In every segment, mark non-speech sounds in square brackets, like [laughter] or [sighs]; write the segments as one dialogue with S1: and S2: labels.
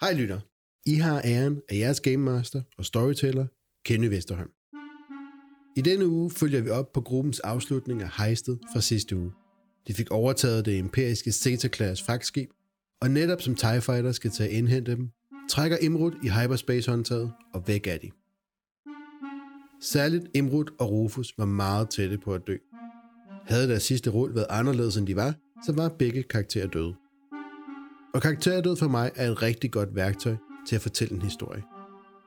S1: Hej lytter. I har æren af jeres Game Master og Storyteller, Kenny Vesterholm. I denne uge følger vi op på gruppens afslutning af hejstet fra sidste uge. De fik overtaget det imperiske Zeta-klasse fragtskib, og netop som TIE Fighter skal til at indhente dem, trækker Imrud i hyperspace-håndtaget, og væk er de. Særligt Imrud og Rufus var meget tætte på at dø. Havde deres sidste rull været anderledes end de var, så var begge karakterer døde. Og karakterdød for mig er et rigtig godt værktøj til at fortælle en historie.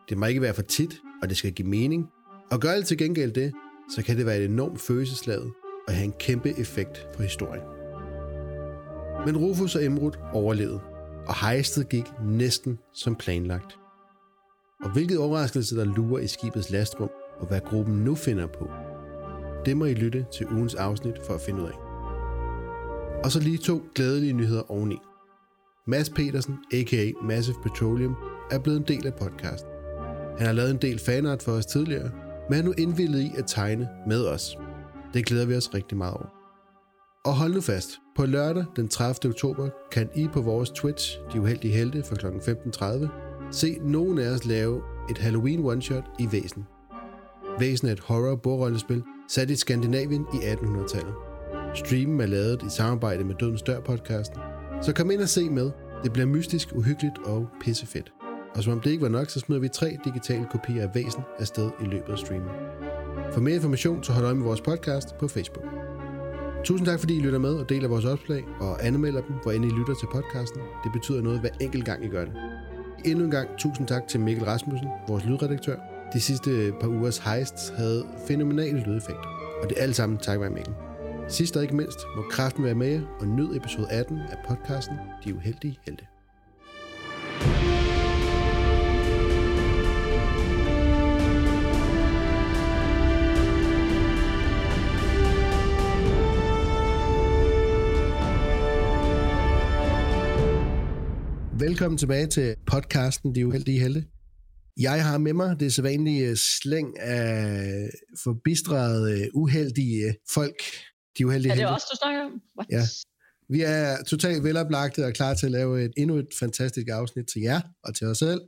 S1: Det må ikke være for tit, og det skal give mening. Og gør det til gengæld det, så kan det være et enormt følelsesladet og have en kæmpe effekt på historien. Men Rufus og Emrud overlevede, og hejstet gik næsten som planlagt. Og hvilket overraskelse, der lurer i skibets lastrum, og hvad gruppen nu finder på, det må I lytte til ugens afsnit for at finde ud af. Og så lige to glædelige nyheder oveni. Mads Petersen, a.k.a. Massive Petroleum, er blevet en del af podcasten. Han har lavet en del fanart for os tidligere, men er nu indvillet i at tegne med os. Det glæder vi os rigtig meget over. Og hold nu fast, på lørdag den 30. oktober kan I på vores Twitch, De Uheldige Helte, fra kl. 15.30, se nogen af os lave et Halloween one-shot i Væsen. Væsen er et horror bordrollespil sat i Skandinavien i 1800-tallet. Streamen er lavet i samarbejde med Dødens Dør podcasten, så kom ind og se med. Det bliver mystisk, uhyggeligt og pissefedt. Og som om det ikke var nok, så smider vi tre digitale kopier af Væsen afsted i løbet af streamen. For mere information, så hold øje med vores podcast på Facebook. Tusind tak, fordi I lytter med og deler vores opslag og anmelder dem, hvor end I lytter til podcasten. Det betyder noget hver enkelt gang, I gør det. Endnu en gang tusind tak til Mikkel Rasmussen, vores lydredaktør. De sidste par ugers heists havde fænomenale lydeffekter, og det er alt sammen tak være Mikkel. Sidst og ikke mindst må kraften være med jer, og nyd episode 18 af podcasten De Uheldige Helte. Velkommen tilbage til podcasten De Uheldige Helte. Jeg har med mig det sædvanlige øh, slæng af forbistrede, øh, uheldige folk. De uheldige
S2: Er det
S1: helte.
S2: også, du snakker om? What?
S1: Ja. Vi er totalt veloplagte og klar til at lave et, endnu et fantastisk afsnit til jer og til os selv.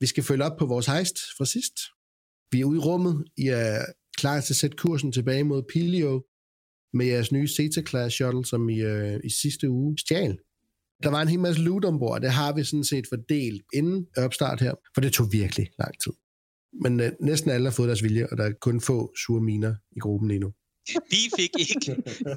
S1: Vi skal følge op på vores hejst fra sidst. Vi er ude i rummet. I er klar til at sætte kursen tilbage mod Pilio med jeres nye Zeta-class shuttle, som I, øh, i sidste uge stjal. Der var en hel masse loot ombord, og det har vi sådan set fordelt inden opstart her, for det tog virkelig lang tid. Men øh, næsten alle har fået deres vilje, og der er kun få sure miner i gruppen lige nu.
S3: Vi fik ikke [laughs] øh,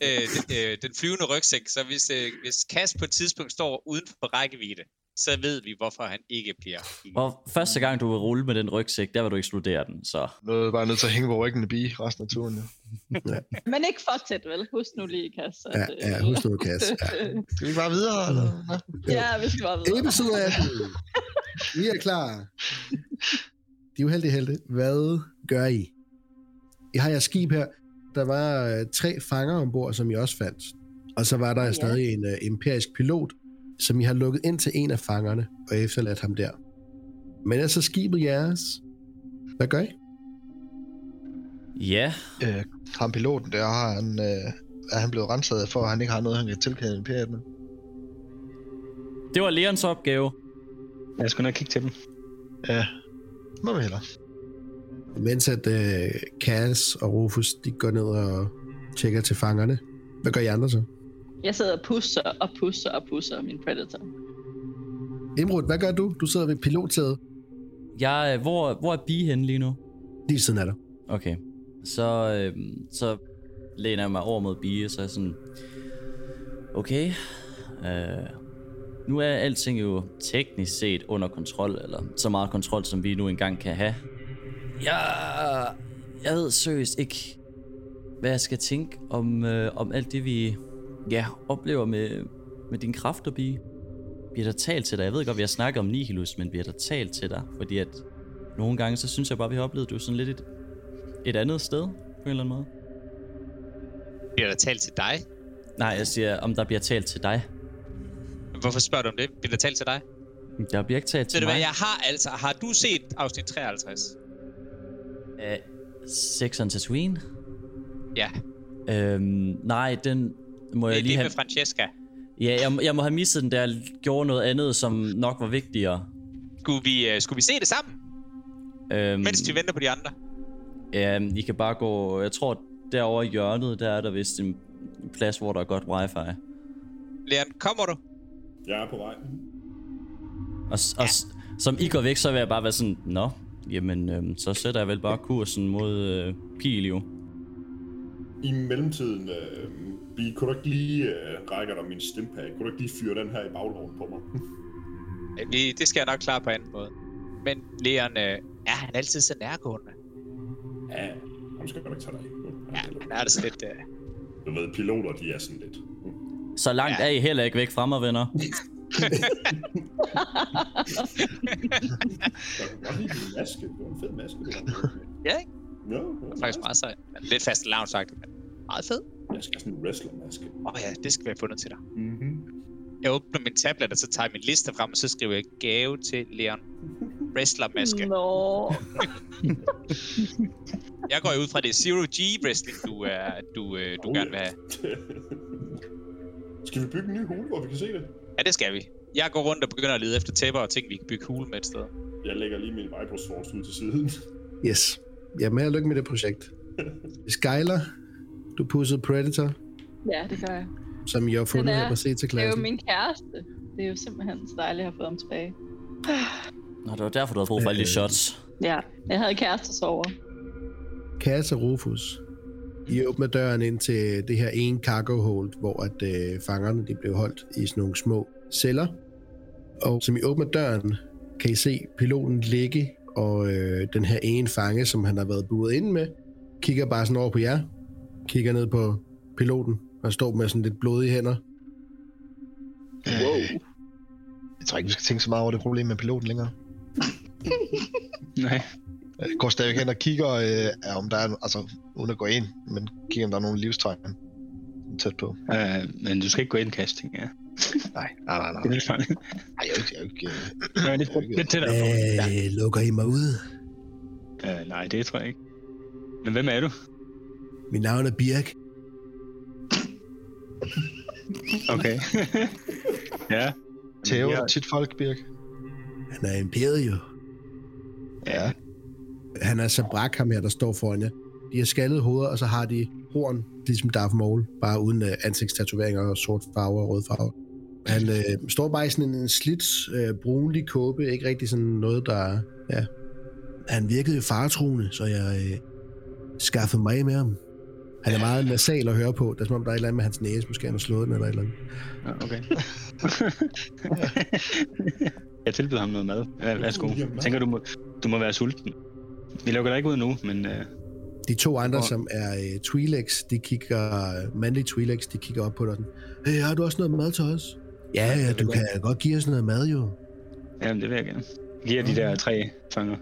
S3: den, øh, den flyvende rygsæk, så hvis, øh, hvis Kas på et tidspunkt står uden for rækkevidde, så ved vi, hvorfor han ikke bliver. i-
S4: Og første gang, du vil rulle med den rygsæk, der vil du eksplodere den, så...
S5: Nu er jeg bare nødt til at hænge på ryggen af bi resten af turen. Ja.
S2: Men ikke for tæt, vel? Husk nu lige, Kas. at,
S1: Ja,
S2: øh,
S1: ja husk nu, Kas. Ja.
S5: Skal vi ikke bare videre? Eller? hvad?
S2: [laughs] ja, vi skal bare videre.
S1: Episode 18. Vi er klar. De uheldige helte, hvad gør I? I har jeres skib her. Der var øh, tre fanger ombord, som I også fandt. Og så var der ja. stadig en uh, imperisk pilot, som I har lukket ind til en af fangerne og efterladt ham der. Men er så skibet jeres? Hvad gør I?
S4: Ja,
S5: Øh, ham piloten der, har han, øh, er han blevet renset for, at han ikke har noget, han kan tilkende imperiet med?
S4: det var Leons opgave.
S6: Lad os gå ned og kigge til dem.
S5: Ja. Må vi heller.
S1: Mens at uh, Cass og Rufus de går ned og tjekker til fangerne. Hvad gør I andre så?
S2: Jeg sidder og pusser og pusser og pusser min Predator.
S1: Imrud, hvad gør du? Du sidder ved pilotsædet.
S4: Jeg, øh, hvor, hvor er Bi henne lige nu?
S1: Lige ved siden af dig.
S4: Okay. Så, øhm, så læner jeg mig over mod Bie, så er jeg sådan... Okay. Øh, nu er alting jo teknisk set under kontrol, eller så meget kontrol, som vi nu engang kan have. Jeg, jeg ved seriøst ikke, hvad jeg skal tænke om, øh, om alt det, vi ja, oplever med, med din kræfter, Bie. Vi har da talt til dig. Jeg ved godt, vi har snakket om Nihilus, men vi har da talt til dig, fordi at nogle gange, så synes jeg bare, vi har oplevet, at du er sådan lidt et et andet sted, på en eller anden måde?
S3: Bliver der talt til dig?
S4: Nej, jeg siger, om der bliver talt til dig.
S3: Hvorfor spørger du om det? Bliver der talt til dig?
S4: Der bliver ikke talt
S3: Ved
S4: til
S3: du
S4: mig.
S3: hvad, jeg har altså... Har du set afsnit 53?
S4: Æh, Sex on Tatooine?
S3: Ja,
S4: Øhm, nej, den må
S3: det
S4: jeg
S3: er
S4: lige
S3: det
S4: have...
S3: med Francesca.
S4: Ja, jeg, jeg må have misset den, der jeg gjorde noget andet, som nok var vigtigere.
S3: Skulle vi, øh, skulle vi se det sammen,
S4: Øhm,
S3: mens de venter på de andre?
S4: Ja, I kan bare gå... Jeg tror, derovre i hjørnet, der er der vist en plads, hvor der er godt wifi.
S3: Leon, kommer du?
S7: Jeg er på vej.
S4: Og, s- og s- som I går væk, så vil jeg bare være sådan... Nå, jamen, øhm, så sætter jeg vel bare kursen mod øh, Pilio.
S7: I mellemtiden, øh, vi kunne du ikke lige øh, rækker dig min stimpak. Kunne du ikke lige fyre den her i bagloven på mig?
S3: Øh, Vi, det skal jeg nok klare på anden måde. Men Leon, øh, er han altid så nærgående?
S7: ja, ham skal man ikke tage dig af.
S3: Ja, han er det sådan lidt... Øh,
S7: Du ved, piloter, de er sådan lidt.
S4: Så langt
S3: Ja.
S4: ja. er I heller ikke væk fra mig, venner.
S7: Jeg kan godt lide din maske. Det var en fed maske, du har på.
S3: ja, ikke?
S7: Ja,
S3: Det er faktisk meget sej. Lidt fast lavn sagt, men meget fed.
S7: Jeg skal have sådan en wrestlermaske.
S3: Åh oh, ja, det skal vi have fundet til dig.
S7: Mm-hmm.
S3: Jeg åbner min tablet, og så tager jeg min liste frem, og så skriver jeg gave til Leon. [laughs] Wrestlermaske.
S2: Nå.
S3: Jeg går jo ud fra, det er Zero G Wrestling, du, er, du, øh, du
S7: Oh,
S3: gerne vil
S7: ja.
S3: have.
S7: skal vi bygge en ny hule, hvor vi kan se det?
S3: Ja, det skal vi. Jeg går rundt og begynder at lede efter tæpper og ting, vi kan bygge hule med et sted.
S7: Jeg lægger lige min Vibro-swords ud til siden.
S1: Yes. Jamen, held og lykke med det projekt. Skyler, du pudsede Predator,
S2: Ja, det gør jeg.
S1: som jeg har fundet
S2: Den er-
S1: her på c
S2: Det er jo
S1: klassen
S2: min kæreste. Det er jo simpelthen så dejligt at have fået ham tilbage.
S4: Nå, det var derfor, du havde brug for alle de shots.
S2: Ja, jeg havde kærestesover.
S1: Kasse Rufus. I åbner døren ind til det her ene cargo hold, hvor at øh, fangerne de blev holdt i sådan nogle små celler. Og som I åbner døren, kan I se piloten ligge, og øh, den her ene fange, som han har været buret inde med, kigger bare sådan over på jer, kigger ned på piloten, og står med sådan lidt blodige hænder.
S5: Wow. Jeg tror ikke, vi skal tænke så meget over det problem med piloten længere.
S6: Nej.
S5: Jeg går stadigvæk hen og kigger, øh, ja, om der er, altså uden at gå ind, men kigger, om der er nogle livstegn tæt på.
S6: Øh, men du skal ikke gå ind, casting, ja.
S5: Nej, nej, nej, nej.
S6: Det er lidt farligt.
S5: Ej, jeg er jo ikke, jeg er jo ikke, øh,
S6: [laughs] Nej, det er lidt tættere på.
S1: Øh, lukker I mig ud?
S6: Øh, nej, det tror jeg ikke. Men hvem er [laughs] du?
S1: Mit navn er Birk.
S6: Okay. ja.
S5: Theo
S6: Ja.
S5: er tit folk, Birk.
S1: Han er imperiet jo.
S5: Ja.
S1: Han er så brak ham her, der står foran jer. De har skaldede hoveder, og så har de horn, ligesom Darth Maul, bare uden øh, ansigtstatoveringer og sort farve og rød farve. Han øh, står bare i sådan en, en slidt, øh, brunlig kåbe, ikke rigtig sådan noget, der... Ja. Han virkede faretruende, så jeg øh, skaffede mig af med ham. Han er meget nasal at høre på. Det er som om, der er et eller andet med hans næse, måske han har slået den eller et eller andet.
S6: Nå, Okay. [laughs] jeg tilbyder ham noget mad. Ja, værsgo. Jeg tænker, du må, du må være sulten. Vi lukker dig ikke ud nu, men øh,
S1: De to andre,
S6: Og-
S1: som er øh, Twi'leks, de kigger, mandlige Twi'leks, de kigger op på dig og sådan, hey, har du også noget mad til os? Ja, ja, du kan godt give os noget mad jo.
S6: jamen, det vil jeg gerne. Giver de der tre fanger.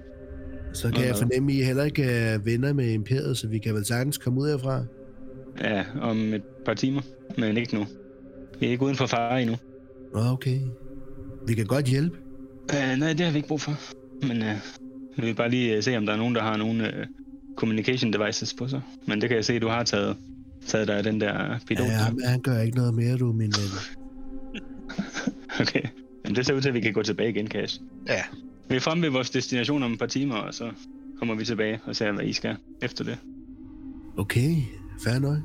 S1: Så kan
S6: Noget
S1: jeg
S6: mad.
S1: fornemme, at I heller ikke er venner med imperiet, så vi kan vel sagtens komme ud herfra.
S6: Ja, om et par timer, men ikke nu. Vi er ikke uden for fare endnu.
S1: Nå, okay. Vi kan godt hjælpe.
S6: Øh, nej, det har vi ikke brug for. Men øh, vi vil bare lige øh, se, om der er nogen, der har nogle øh, communication devices på sig. Men det kan jeg se, du har taget, taget dig af den der øh, pilot.
S1: Ja,
S6: der.
S1: men han gør ikke noget mere, du, min ven.
S6: [laughs] Okay. Jamen, det ser ud til, at vi kan gå tilbage igen, Cash.
S5: Ja.
S6: Vi er fremme ved vores destination om et par timer, og så kommer vi tilbage og ser, hvad I skal efter det.
S1: Okay, fair nok.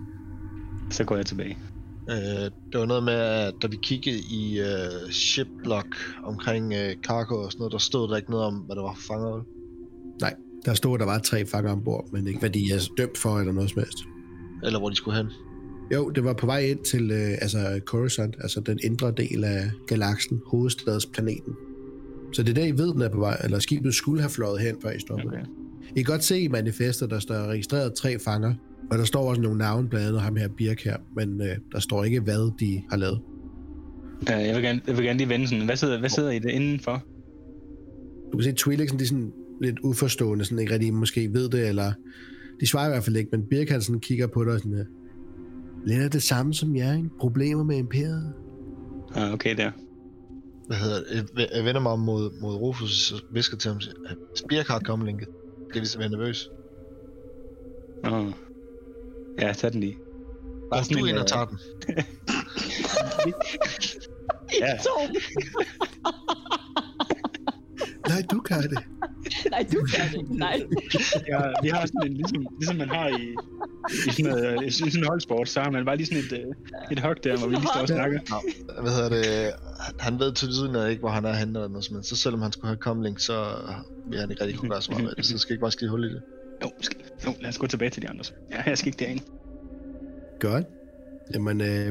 S6: Så går jeg tilbage.
S5: Øh, det var noget med, at da vi kiggede i øh, shiplock omkring øh, cargo og sådan noget, der stod der ikke noget om, hvad det var for fanger. vel?
S1: Der stod, at der var tre fanger ombord, men ikke hvad de er dømt for eller noget som helst.
S5: Eller hvor de skulle hen.
S1: Jo, det var på vej ind til øh, altså Coruscant, altså den indre del af galaksen, hovedstadsplaneten. Så det er der, I ved, den er på vej, eller skibet skulle have fløjet hen, før I stoppede. Okay.
S6: Okay.
S1: I kan godt se i manifestet, der står registreret tre fanger, og der står også nogle navne, blandt andet ham her Birk her, men øh, der står ikke, hvad de har lavet.
S6: Øh, jeg, vil gerne, jeg vil gerne lige vende sådan. Hvad sidder, hvad sidder I det indenfor?
S1: Du kan se, at Twilixen, de er sådan lidt uforstående, sådan ikke rigtig måske ved det, eller de svarer i hvert fald ikke, men Birk han sådan kigger på dig og sådan her. Lidt af det samme som jer, ikke? Problemer med imperiet.
S6: Ah, okay, der.
S5: Hvad hedder det? Jeg ve- Jeg vender mig om mod, mod Rufus og visker til ham, at Spirk har kommelinket. Det er ligesom, jeg er nervøs.
S6: Oh. Ja, tag den lige.
S5: Går
S6: sådan
S5: du
S6: en,
S5: ind
S6: øh,
S5: og tager den?
S6: Ja.
S2: Ja. Torben!
S1: Nej, du kan det.
S2: Nej, du kan det. ikke. Nej.
S6: Ja, vi har sådan en, ligesom, ligesom man har i, i sådan, noget, øh, i sådan en holdsport, så har man bare lige sådan et, øh, et hug der, hvor vi lige står og snakker.
S5: Hvad hedder det? Han ved til siden af ikke, hvor han er henne eller noget, men så selvom han skulle have komling, så øh, vil han ikke rigtig kunne gøre så meget med det, så skal I ikke bare skide hul i det.
S6: Jo, skal, jo, lad os gå tilbage til de andre. så. Ja, jeg skal ikke derind.
S1: Godt. Jamen, øh,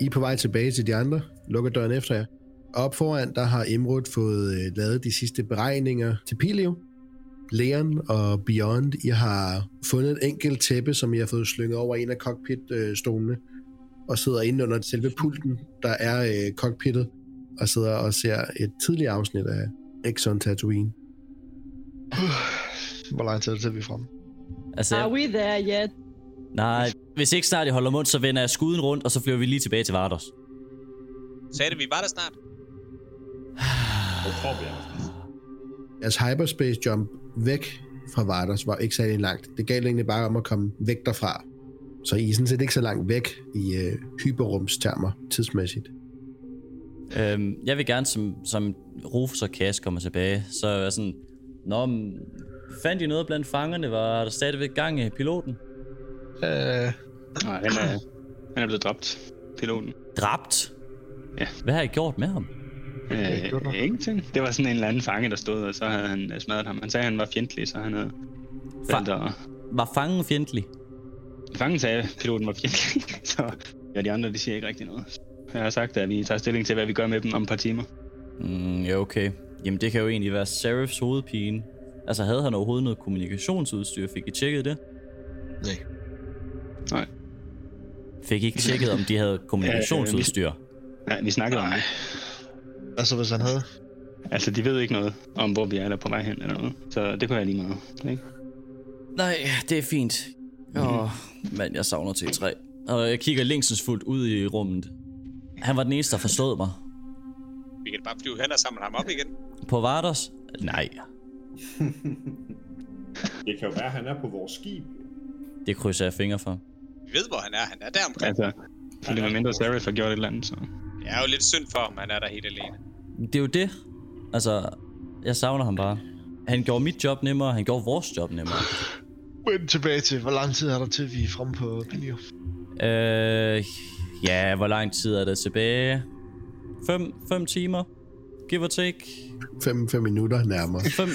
S1: I er på vej tilbage til de andre. Lukker døren efter jer. Op foran, der har Imrud fået øh, lavet de sidste beregninger til Pilio. Leon og Beyond, I har fundet et enkelt tæppe, som I har fået slynget over en af cockpit-stolene, og sidder inde under selve pulten, der er øh, cockpittet, og sidder og ser et tidligere afsnit af Exxon Tatooine.
S5: Hvor lang tid er det til, vi er fremme?
S4: Altså,
S2: Are
S4: jeg,
S2: we there yet?
S4: nej, hvis ikke snart I holder mund, så vender jeg skuden rundt, og så flyver vi lige tilbage til Vardos.
S3: Sagde det, vi var der snart?
S7: Jeg tror, vi er der.
S1: Jeres Altså, hyperspace jump væk fra Vardas var ikke særlig langt. Det galt egentlig bare om at komme væk derfra. Så I er sådan set ikke så langt væk i øh, hyperrumstermer tidsmæssigt.
S4: Øhm, jeg vil gerne, som, som Rufus og Cass kommer tilbage, så er jeg sådan... Nå, men, fandt I noget blandt fangerne? Var der stadigvæk gang i piloten?
S5: Øh,
S6: Nej, han er, han er blevet dræbt, piloten.
S4: Dræbt?
S6: Ja.
S4: Hvad har I gjort med ham?
S5: jeg gjorde
S6: Øh,
S5: noget.
S6: ingenting. Det var sådan en eller anden fange, der stod, og så havde han øh, smadret ham. Han sagde, at han var fjendtlig, så han havde...
S4: Fa-
S6: valgt at-
S4: Var fangen fjendtlig?
S6: Fangen sagde, at piloten var fjendtlig, [laughs] så ja, de andre de siger ikke rigtig noget. Jeg har sagt, at vi tager stilling til, hvad vi gør med dem om et par timer.
S4: Mm, ja, okay. Jamen, det kan jo egentlig være Serifs hovedpine. Altså, havde han overhovedet noget kommunikationsudstyr? Fik I tjekket det?
S5: nej.
S6: Nej,
S4: Fik I ikke tjekket, om de havde kommunikationsudstyr?
S6: nej vi snakkede om det.
S5: Altså, hvis han havde...
S6: Altså, de ved ikke noget om, hvor vi er eller på vej hen eller noget. Så det kunne jeg lige meget. Ikke?
S4: Nej, det er fint. Åh, mand, jeg savner T3. Og jeg kigger længselsfuldt ud i rummet. Han var den eneste, der forstod mig.
S3: Vi kan bare flyve hen og samle ham op igen.
S4: På Vardos? Nej,
S7: Det kan jo være, at han er på vores skib.
S4: det krydser jeg fingre for.
S3: Vi ved, hvor han er. Han er der omkring.
S6: Altså, så det var mindre Sarah for gjort et eller andet, så...
S3: Det er jo lidt synd for ham, han er der helt alene.
S4: Det er jo det. Altså, jeg savner ham bare. Han gjorde mit job nemmere, han gjorde vores job nemmere.
S5: Men tilbage til, hvor lang tid er der til, vi er fremme på Pilio?
S4: Øh, ja, hvor lang tid er der tilbage? 5 5 timer? Give or take?
S1: 5-5 minutter nærmere.
S4: 5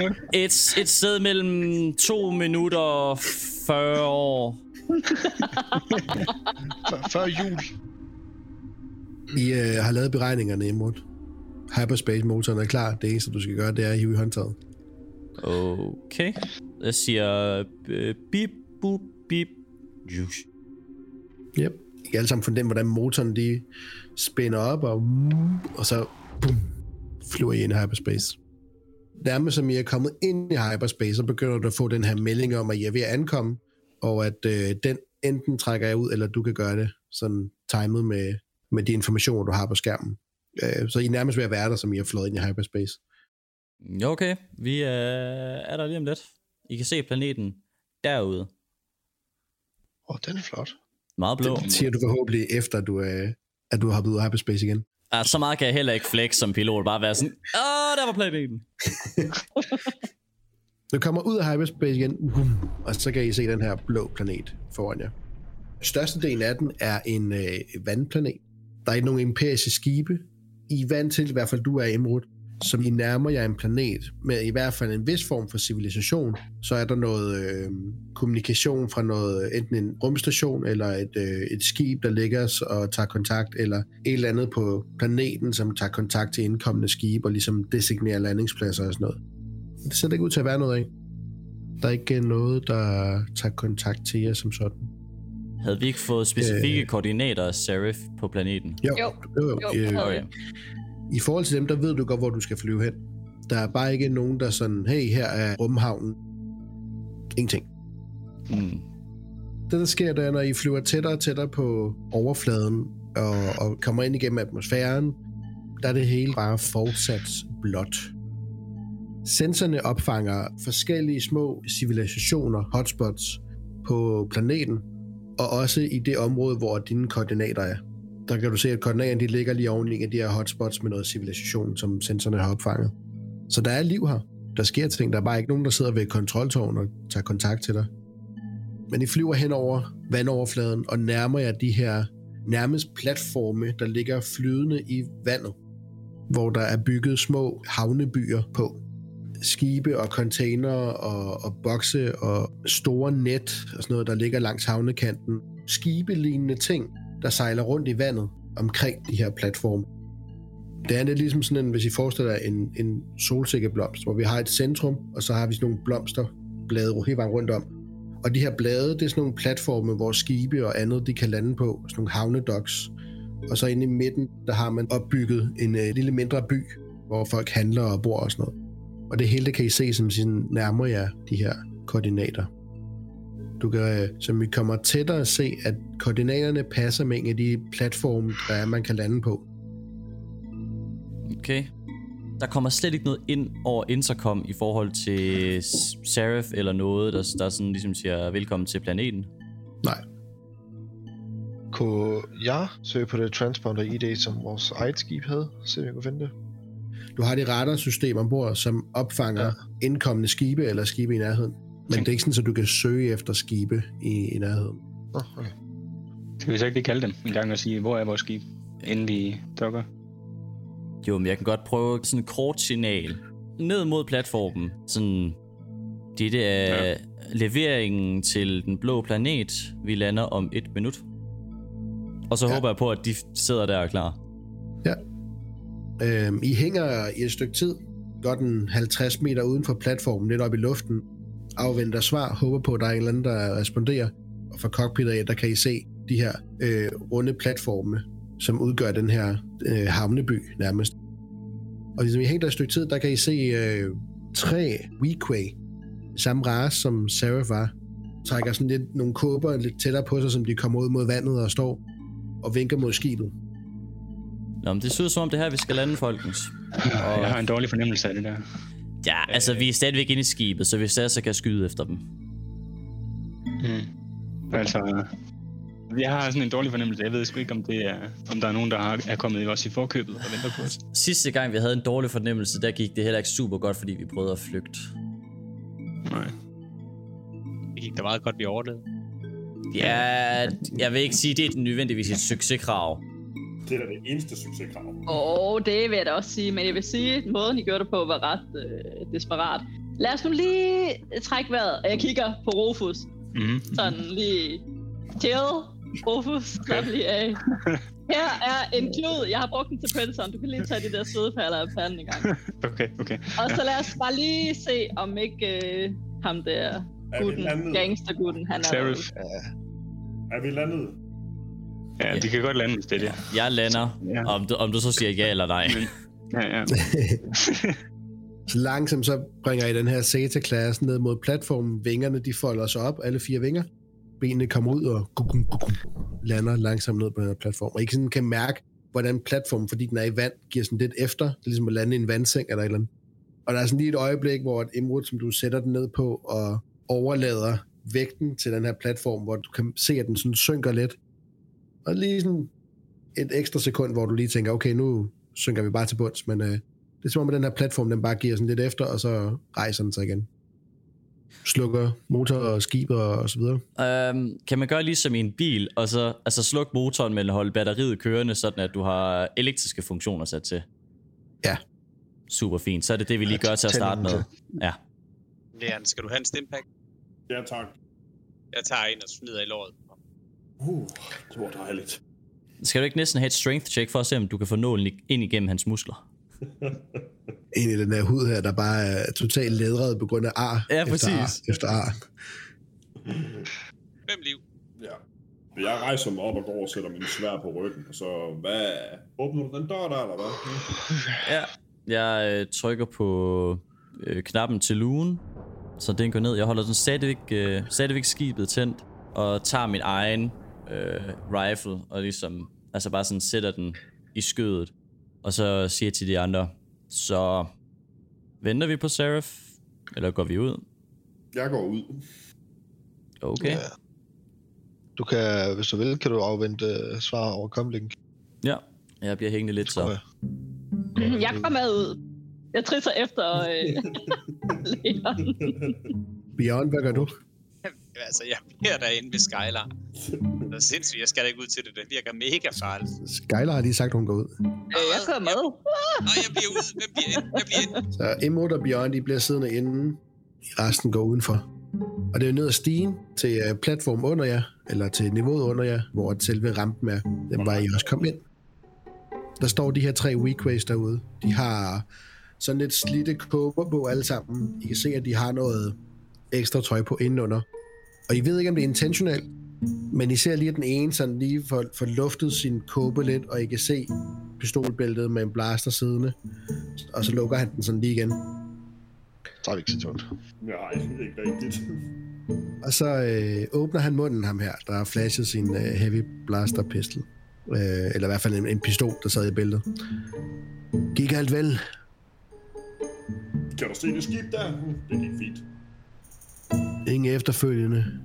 S4: 5 et, et sted mellem 2 minutter og 40 år.
S5: Før, før jul?
S1: I øh, har lavet beregningerne imod. Hyperspace-motoren er klar. Det eneste, du skal gøre, det er at hive i håndtaget.
S4: Okay. Jeg siger øh, bip, bup, bip. Juice.
S1: Yep. I kan alle sammen fornemme, hvordan motoren de spænder op, og, og så boom, flyver I ind i hyperspace. Nærmest som I er kommet ind i hyperspace, så begynder du at få den her melding om, at I er ved at ankomme, og at øh, den enten trækker jeg ud, eller du kan gøre det sådan timet med, med de informationer, du har på skærmen. Øh, så I er nærmest ved at være der, som I er flået ind i hyperspace.
S4: Ja, okay. Vi er, er der lige om lidt. I kan se planeten derude.
S5: Åh, oh, den er flot.
S4: Meget blå.
S1: Det siger du forhåbentlig efter, at du, øh, at du har hoppet ud af hyperspace igen.
S4: Ah, så meget kan jeg heller ikke flex som pilot. Bare være sådan, åh, der var planeten.
S1: Du kommer ud af hyperspace igen, uhum, og så kan I se den her blå planet foran jer. Størstedelen af den er en øh, vandplanet. Der er ikke nogen imperiske skibe. I er vant til, i hvert fald du er Imrud, som I nærmer jer en planet med i hvert fald en vis form for civilisation, så er der noget øh, kommunikation fra noget, enten en rumstation eller et, øh, et skib, der ligger os og tager kontakt, eller et eller andet på planeten, som tager kontakt til indkommende skibe og ligesom designerer landingspladser og sådan noget. Det ser der ikke ud til at være noget af. Der er ikke øh, noget, der tager kontakt til jer som sådan.
S4: Havde vi ikke fået specifikke øh. koordinater af Serif på planeten?
S1: Jo,
S2: Jo.
S1: jo,
S2: Jo,
S1: øh,
S2: havde
S4: Okay.
S2: vi.
S1: I forhold til dem, der ved du godt, hvor du skal flyve hen. Der er bare ikke nogen, der sådan, hey, her er rumhavnen. Ingenting.
S4: Mm.
S1: Det, der sker, det er, når I flyver tættere og tættere på overfladen og, og kommer ind igennem atmosfæren, der er det hele bare fortsat blåt. Sensorne opfanger forskellige små civilisationer, hotspots, på planeten, og også i det område, hvor dine koordinater er. Der kan du se, at koordinaterne de ligger lige oven i en af de her hotspots med noget civilisation, som sensorerne har opfanget. Så der er liv her. Der sker ting. Der er bare ikke nogen, der sidder ved kontroltårnet og tager kontakt til dig. Men I flyver hen over vandoverfladen og nærmer jer de her nærmest platforme, der ligger flydende i vandet, hvor der er bygget små havnebyer på skibe og container og, og bokse og store net og sådan noget, der ligger langs havnekanten. Skibelignende ting, der sejler rundt i vandet omkring de her platforme. Det er lidt ligesom sådan en, hvis I forestiller jer en, en solsikkeblomst, hvor vi har et centrum, og så har vi sådan nogle blomsterblade hele vejen rundt om. Og de her blade, det er sådan nogle platforme, hvor skibe og andet, de kan lande på, sådan nogle havnedoks. Og så inde i midten, der har man opbygget en øh, lille mindre by, hvor folk handler og bor og sådan noget. Og det hele det kan I se, som sådan nærmer jer de her koordinater. Du kan, øh, som I kommer tættere, se, at koordinaterne passer med en af de platforme, der er, man kan lande på.
S4: Okay. Der kommer slet ikke noget ind over intercom i forhold til S- Seraph eller noget, der, der sådan ligesom siger velkommen til planeten.
S1: Nej,
S5: Kunne jeg søge på det transponder ID, som vores eget skib havde? Se om jeg kunne finde det.
S1: du har de radarsystem ombord, som opfanger ja.
S5: Ja.
S1: indkommende skibe eller skibe i nærheden. Men det er ikke sådan, at du kan søge efter skibe i, i nærheden.
S5: Nå, okay.
S6: Skal vi så ikke lige kalde dem en gang og sige, hvor er vores skib, inden vi dokker?
S4: Jo, men jeg kan godt prøve sådan et kort signal ned mod platformen. Sådan, det er ja. leveringen til den blå planet. Vi lander om et minut. Og så ja.
S1: Ja.
S4: håber jeg på, at de sidder der og er klar.
S1: Øhm, I hænger i et stykke tid, godt en 50 meter uden for platformen, lidt op i luften, afventer svar, håber på, at der er en eller anden, der responderer. Og fra cockpittet af, der kan I se de her øh, runde platforme, som udgør den her øh, havneby nærmest. Og ligesom I hænger der et stykke tid, der kan I se øh, tre Weequay, samme race som Seraph var, trækker sådan lidt nogle kåber lidt tættere på sig, som de kommer ud mod vandet og står og vinker mod skibet.
S4: Nå, men det ser ud som om det er her, vi skal lande, folkens.
S6: Jeg har en dårlig fornemmelse af det der.
S4: Ja, altså vi er stadigvæk inde i skibet, så vi stadig så kan skyde efter dem.
S6: Altså, jeg har sådan en dårlig fornemmelse. Jeg ved sgu ikke, om, det er, om der er nogen, der har, er kommet os i forkøbet og venter på os.
S4: Sidste gang, vi havde en dårlig fornemmelse, der gik det heller ikke super godt, fordi vi prøvede at flygte.
S6: Nej.
S3: Det gik da meget godt, vi overlevede.
S4: Ja, jeg vil ikke sige, det er nødvendigvis et succeskrav.
S7: Det er da det eneste succeskrav.
S2: Åh, oh, det vil jeg da også sige, men jeg vil sige, at måden, I gjorde det på, var ret øh, desperat. Lad os nu lige trække vejret, og jeg kigger på Rufus.
S6: Mm-hmm.
S2: Sådan lige chill, Rufus, slap lige
S1: [laughs]
S2: af. Her er en klud, jeg har brugt den til Princeton, du kan lige tage de der svedepaller af panden en gang.
S6: Okay, okay.
S2: Og så lad os bare lige se, om ikke øh, ham der
S7: Er vi
S2: gutten,
S7: landet?
S2: gangstergutten, han er
S6: Serif.
S2: derude.
S7: Er vi landet?
S6: Ja, de kan godt lande, hvis det er det.
S4: Jeg lander,
S6: Ja.
S4: om du, om du så siger ja eller nej.
S6: Ja, ja.
S1: Så langsomt så bringer I den her Zeta-klasse ned mod platformen. Vingerne de folder sig op, alle fire vinger. Benene kommer ud og gukum, gukum, lander langsomt ned på den her platform. Og I sådan kan mærke, hvordan platformen, fordi den er i vand, giver sådan lidt efter. Det er ligesom at lande i en vandseng eller et eller andet. Og der er sådan lige et øjeblik, hvor et Imrud, som du sætter den ned på, og overlader vægten til den her platform, hvor du kan se, at den sådan synker lidt. Og lige sådan et ekstra sekund, hvor du lige tænker, okay, nu synker vi bare til bunds, men øh, det er som om, at den her platform, den bare giver sådan lidt efter, og så rejser den sig igen. Slukker motor og skib og, og så videre.
S4: Øhm, kan man gøre ligesom i en bil, og så altså sluk motoren, men holde batteriet kørende, sådan at du har elektriske funktioner sat til?
S1: Ja.
S4: Super fint. Så er det det, vi lige gør til at starte med. Ja.
S3: Leon, skal du have en stimpack?
S7: Ja, tak.
S3: Jeg tager en og smider i låret.
S7: Uh, det var dejligt.
S4: Skal du ikke næsten have et strength check for at se, om du kan få nålen i- ind igennem hans muskler?
S1: En i den her hud her, der bare er totalt ledret på grund af ar.
S4: Ja,
S1: efter
S4: præcis.
S1: Ar, efter ar.
S3: Fem liv.
S7: Ja. Jeg rejser mig op og går og sætter min svær på ryggen, og så, hvad? Åbner du den dør der, eller hvad?
S4: Ja. Jeg øh, trykker på øh, knappen til lugen, så den går ned. Jeg holder den stadigvæk, øh, stadigvæk skibet tændt, og tager min egen øh, rifle, og ligesom, altså bare sådan sætter den i skødet, og så siger til de andre, så venter vi på Seraph, eller går vi ud?
S7: Jeg går ud.
S4: Okay.
S5: Ja. Du kan, hvis du vil, kan du afvente øh, svar over comlink.
S4: Ja, jeg bliver hængende lidt så.
S5: tror jeg.
S2: Jeg kommer ud. Jeg trisser efter øh,
S1: [laughs]
S2: Leon.
S1: Bjørn, hvad gør du?
S3: Altså, jeg bliver derinde ved Skylar. Det er sindssygt, jeg skal da ikke ud til det. Det virker mega farligt.
S1: Skylar har lige sagt, at hun går ud.
S2: Øh, jeg kommer med.
S3: Nå, jeg bliver ude. Hvem bliver inde? Jeg bliver inde.
S1: Så Emot og Bjørn, de bliver siddende inden. Resten går udenfor. Og det er jo ned ad stigen til øh, platformen under jer, eller til niveauet under jer, hvor selve rampen er, den var I også kom ind. Der står de her tre weakways derude. De har sådan lidt slidte kåber på alle sammen. I kan se, at de har noget ekstra tøj på indenunder. Og I ved ikke, om det er intentionelt, men I ser lige, at den ene sådan lige får, får luftet sin kåbe lidt, og I kan se pistolbæltet med en blaster siddende. Og så lukker han den sådan lige igen.
S5: Det tager vi ikke så tungt.
S7: Nej, ikke rigtigt.
S1: Og så øh, åbner han munden, ham her, der har flashet sin øh, heavy blaster pistol. Øh, eller i hvert fald en, en pistol, der sad i bæltet. Gik alt vel?
S7: Kan du se det skib der? Det gik fint.
S1: Ingen efterfølgende.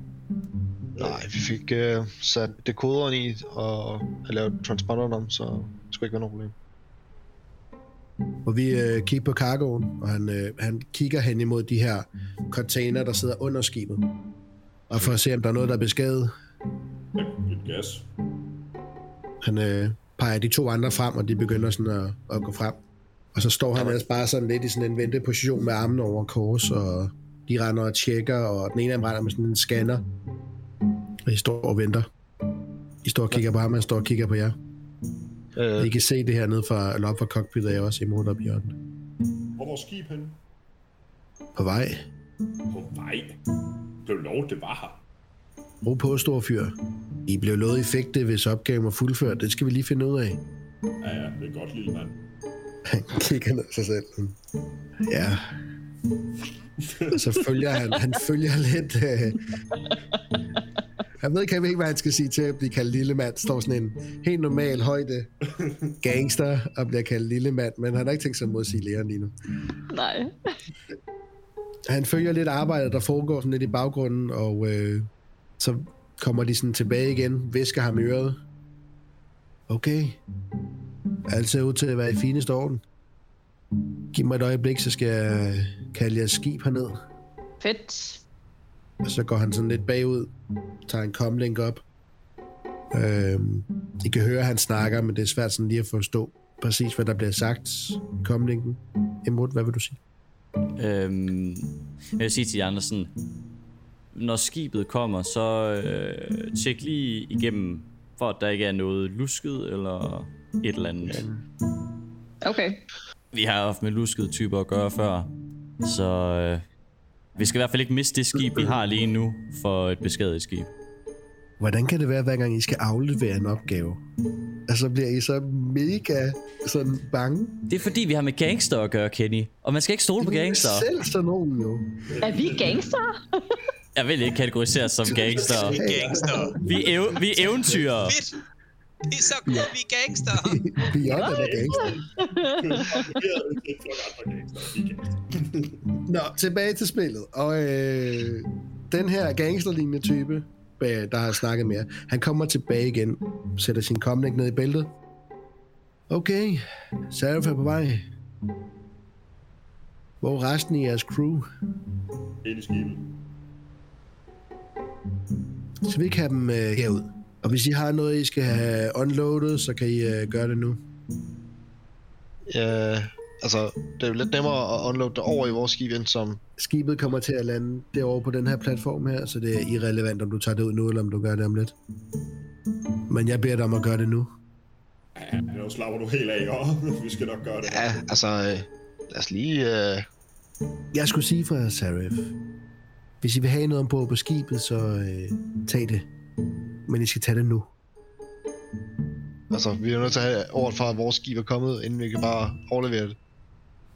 S5: Nej, vi fik øh, sat dekoderen i og lavet transponderen om, så det skulle ikke være noget problem.
S1: Og vi øh, kigger på cargoen, og han, øh, han kigger hen imod de her container, der sidder under skibet. Og for at se, om der er noget, der er beskadiget.
S7: Lidt gas.
S1: Han øh, peger de to andre frem, og de begynder sådan at, at gå frem. Og så står han ellers bare sådan lidt i sådan en venteposition med armen over kors, og de render og tjekker, og den ene af dem render med sådan en scanner. Og I står og venter. I står og kigger på ham, og han står og kigger på jer.
S5: Øh,
S1: I kan se det her nede fra, eller op fra cockpittet af også imod op i hjørnet.
S7: Hvor var vores skib henne?
S1: På vej.
S7: På vej. Blev lov, det var her.
S1: Ro på, store fyr. I blev lovet i fægte, hvis opgaven var fuldført. Det skal vi lige finde ud af.
S7: Ja, ja, det er godt, lille mand.
S1: Han kigger ned på sig selv. Ja. Og så følger han, han følger lidt... Øh... Jeg ved ikke, ikke, hvad han skal sige til at blive kaldt lille mand. Står sådan en helt normal højde gangster og bliver kaldt lille mand, men han har ikke tænkt sig at modsige læreren lige nu.
S2: Nej.
S1: Han følger lidt arbejdet, der foregår sådan lidt i baggrunden, og øh, så kommer de sådan tilbage igen, visker ham i øret. Okay. Alt ser ud til at være i fineste orden. Giv mig et øjeblik, så skal jeg kalde jeres skib herned.
S2: Fedt.
S1: Og så går han sådan lidt bagud, tager en comlink op. Øhm, I kan høre, at han snakker, men det er svært sådan lige at forstå præcis, hvad der bliver sagt i comlinken. Emot, hvad vil du sige?
S4: Øhm, jeg vil sige til jer, Andersen, når skibet kommer, så øh, tjek lige igennem, for at der ikke er noget lusket eller et eller andet.
S2: Okay.
S4: Vi har haft med luskede typer at gøre før, så øh, vi skal i hvert fald ikke miste det skib, vi har lige nu, for et beskadiget skib.
S1: Hvordan kan det være, hver gang I skal aflevere en opgave? Altså bliver I så mega sådan bange?
S4: Det er fordi, vi har med gangster at gøre, Kenny. Og man skal ikke stole på gangster.
S1: Selv sådan nogen jo. [laughs]
S2: Er vi gangster?
S4: Jeg vil ikke kategoriseres som gangster.
S3: Vi er gangster.
S4: Vi, er ev- vi er eventyrer.
S3: Fedt. Det er så godt, vi er gangster.
S1: Beyond er da gangster.
S7: Vi havde ikke et flok andre gangster. Vi er gangster.
S1: Nå, tilbage til spillet. Og øh, den her gangsterlignende type, øh, der har snakket med jer, han kommer tilbage igen, sætter sin komlink ned i bæltet. Okay, Seraph er på vej. Hvor er resten af jeres crew?
S7: Ind i skibet.
S1: Så vi ikke have dem øh, herud. Og hvis I har noget, I skal have unloadet, så kan I øh, gøre det nu.
S5: ja, altså, det er jo lidt nemmere at unloade det over i vores skib, end som...
S1: Skibet kommer til at lande derovre på den her platform her, så det er irrelevant, om du tager det ud nu, eller om du gør det om lidt. Men jeg beder dig om at gøre det nu.
S7: Ja, nu slapper du helt af, og [laughs] vi skal nok gøre det.
S5: Ja, altså, øh, lad os lige... Øh,
S1: Jeg skulle sige fra Sarif, hvis I vil have noget ombord på skibet, så øh, tag det. Men I skal tage det nu.
S5: altså, vi er jo nødt til at have ordet fra, at vores skib er kommet, inden vi kan bare overlevere det.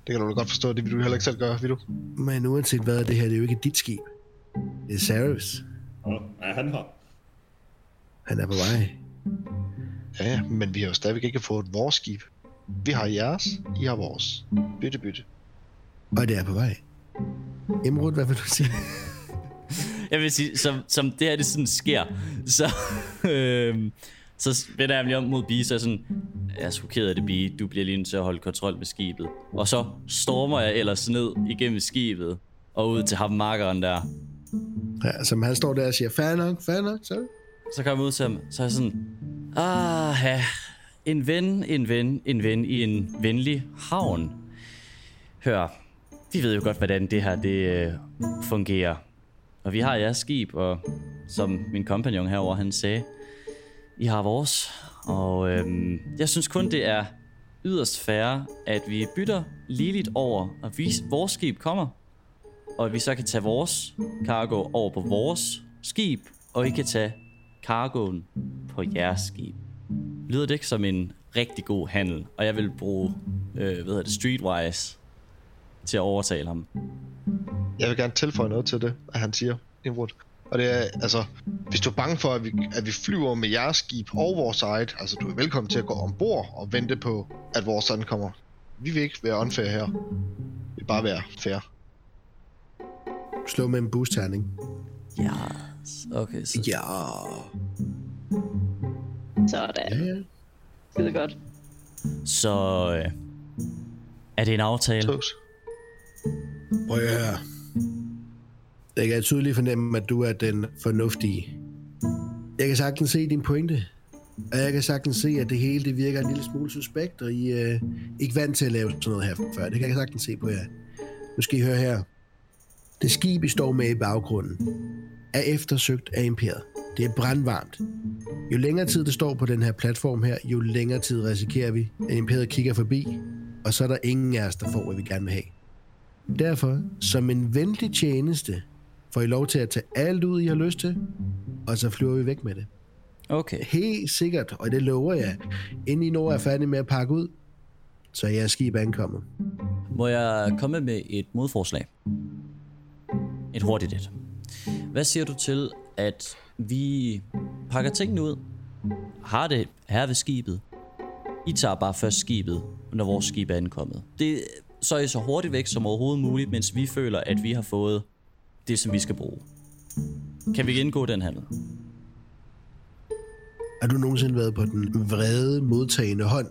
S5: Det kan du da godt forstå, det vil du heller ikke selv gøre, vil du?
S1: Men uanset hvad, det her det er jo ikke dit skib. Det er Sarifs.
S7: Nå, er han her?
S1: Han er på vej.
S5: Ja, ja, men vi har jo stadigvæk ikke fået vores skib. Vi har jeres, I har vores. Bytte, bytte.
S1: Og det er på vej. Imrud, hvad vil du sige?
S4: [laughs] jeg vil sige, som, som det her det sådan sker, så, [laughs] øh, så vender jeg mig lige om mod Bie, så er jeg sådan, jeg er sgu ked af det, Bie, du bliver lige nødt til at holde kontrol med skibet. Og så stormer jeg ellers ned igennem skibet, og ud til ham markeren der.
S1: Ja, som han står der og siger, fair nok, fair nok, så.
S4: Så kommer jeg ud til ham, så er jeg sådan, ah, ja, en ven, en ven, en ven i en venlig havn. Hør, vi ved jo godt, hvordan det her det øh, fungerer. Og vi har jeres skib, og som min kompagnon herover han sagde, I har vores. Og øhm, jeg synes kun, det er yderst fair, at vi bytter ligeligt over, og vi, vores skib kommer. Og at vi så kan tage vores cargo over på vores skib, og I kan tage cargoen på jeres skib. Lyder det ikke som en rigtig god handel, og jeg vil bruge øh, hvad hedder det, Streetwise til at overtale ham.
S5: Jeg vil gerne tilføje noget til det, at han siger, Imrud. Og det er, altså, hvis du er bange for, at vi, at vi flyver med jeres skib og vores eget, altså du er velkommen til at gå ombord og vente på, at vores ankommer. Vi vil ikke være unfair her. Vi vil bare være fair.
S1: Slå med en boost-terning.
S4: Ja. Okay, så
S1: Ja.
S2: Sådan.
S1: Ja, ja.
S2: Skide godt.
S4: Så øh, er det en aftale?
S5: Tos.
S1: Prøv at høre. Jeg kan tydeligt fornemme, at du er den fornuftige. Jeg kan sagtens se din pointe. Og jeg kan sagtens se, at det hele det virker en lille smule suspekt, og I er øh, ikke vant til at lave sådan noget her før. Det kan jeg sagtens se på jer. Nu skal I høre her. Det skib, I står med i baggrunden, er eftersøgt af imperiet. Det er brandvarmt. Jo længere tid det står på den her platform her, jo længere tid risikerer vi, at imperiet kigger forbi, og så er der ingen af os, der får, hvad vi gerne vil have. Derfor, som en venlig tjeneste, får I lov til at tage alt ud, I har lyst til, og så flyver vi væk med det.
S4: Okay.
S1: Helt sikkert, og det lover jeg, inden I når er færdige med at pakke ud, så er jeres skib ankommet.
S4: Må jeg komme med et modforslag? Et hurtigt et. Hvad siger du til, at vi pakker tingene ud, har det her ved skibet, I tager bare først skibet, når vores skib er ankommet. Det, så er I så hurtigt væk som overhovedet muligt, mens vi føler, at vi har fået det, som vi skal bruge. Kan vi indgå den handel?
S1: Har du nogensinde været på den vrede modtagende hånd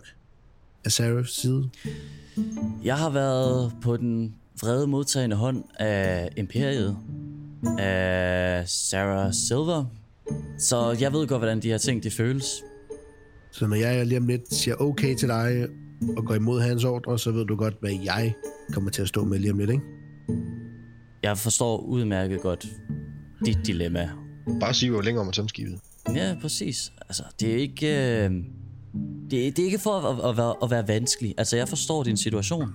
S1: af Sarahs side?
S4: Jeg har været på den vrede modtagende hånd af Imperiet, af Sarah Silver, så jeg ved godt, hvordan de her ting de føles.
S1: Så når jeg lige om lidt siger okay til dig, og går imod hans ordre, så ved du godt, hvad jeg kommer til at stå med lige om lidt, ikke?
S4: Jeg forstår udmærket godt dit dilemma.
S5: Bare sig jo længere om at tømme skibet.
S4: Ja, præcis. Altså, det er ikke... Øh... Det, er- det er ikke for at, at, at, være, at være vanskelig. Altså, jeg forstår din situation. Det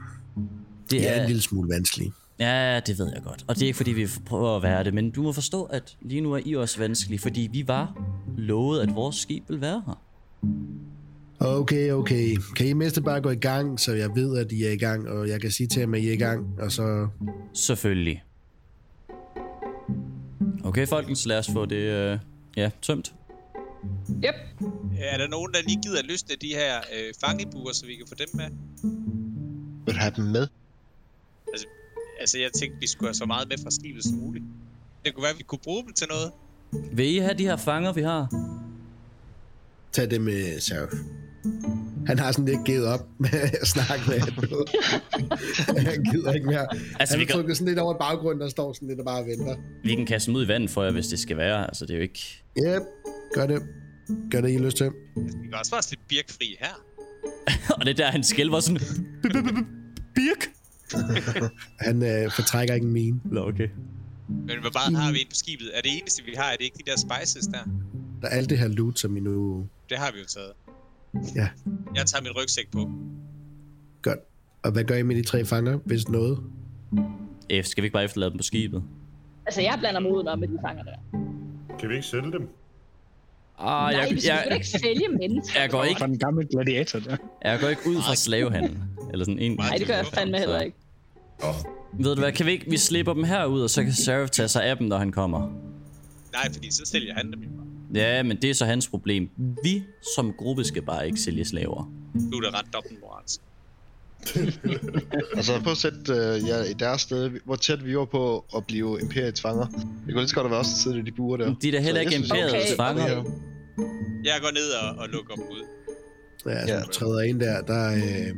S1: Det
S4: er,
S1: er en lille smule vanskeligt.
S4: Ja, det ved jeg godt. Og det er ikke, fordi vi prøver at være det, men du må forstå, at lige nu er I også vanskelige, fordi vi var lovet, at vores skib vil være her.
S1: Okay, okay. Kan I mindst bare gå i gang, så jeg ved, at I er i gang, og jeg kan sige til dem, at I er i gang, og så...
S4: Selvfølgelig. Okay, folkens, lad os få det øh, ja, tømt.
S2: Yep.
S3: Er der nogen, der lige gider at løsne de her øh, fangebuer, så vi kan få dem med?
S5: Vil du have dem med?
S3: Altså, jeg tænkte, vi skulle have så meget med fra skibet som muligt. Det kunne være, at vi kunne bruge dem til noget.
S4: Vil I have de her fanger, vi har?
S1: Tag det med Serf. Han har sådan lidt givet op med at snakke med
S4: [laughs]
S1: ham. Han gider ikke mere.
S4: Altså,
S1: Altså,
S4: vi
S1: han
S4: kan-
S1: trykker sådan lidt over i baggrunden og står sådan lidt og bare venter.
S4: Vi kan kaste dem ud i vandet for jer, hvis det skal være. Altså, det er jo ikke... [laughs]
S1: Yep, gør det. Gør det, I har lyst til.
S3: Altså, vi kan også være lidt birkfri her.
S4: Og det er der, han skælver sådan... Birk!
S1: Han øh, fortrækker ikke en mine.
S4: Nå, okay.
S3: Men hvor meget har vi ind på skibet? Er det eneste, vi har, er det ikke de der spices der?
S1: Der er alt det her loot, som I nu...
S3: Det har vi jo taget.
S1: Ja,
S3: Jeg tager min rygsæk på.
S1: godt. Og hvad gør I med de tre fanger, hvis noget?
S4: F, skal vi ikke bare efterlade dem på skibet?
S2: Altså, jeg blander mig udenom med de fanger der.
S7: Kan vi ikke sætte dem?
S4: Ah,
S2: Nej,
S4: jeg,
S2: vi skal sgu da
S4: jeg,
S2: ikke sælge mennesker.
S4: jeg, går ikke,
S6: Fra den gamle gladiator
S2: [laughs]
S6: der.
S4: jeg går ikke ud fra slavehandel. Eller sådan en.
S2: Nej, det gør jeg fandme heller ikke.
S4: Ved du hvad, kan vi ikke, vi slipper dem herud, og så kan Seraph tage sig af dem, når han kommer.
S3: Nej, fordi så sælger han dem jo.
S4: Ja, men det er så hans problem. Vi som gruppe skal bare ikke sælge slaver.
S3: Du er da ret dobbeltmoralsk.
S5: Altså prøv at sætte øh, jer i deres sted, hvor tæt vi var på at blive imperiets fanger. Det kunne lige så godt have været også siddet i de buer der.
S4: De er da heller
S5: Så jeg
S4: ikke
S5: synes,
S4: imperiets
S2: Okay.
S4: fanger.
S3: Jeg går ned og, og lukker dem ud.
S1: Ja, altså,
S5: Ja.
S1: du træder ind der, der øh,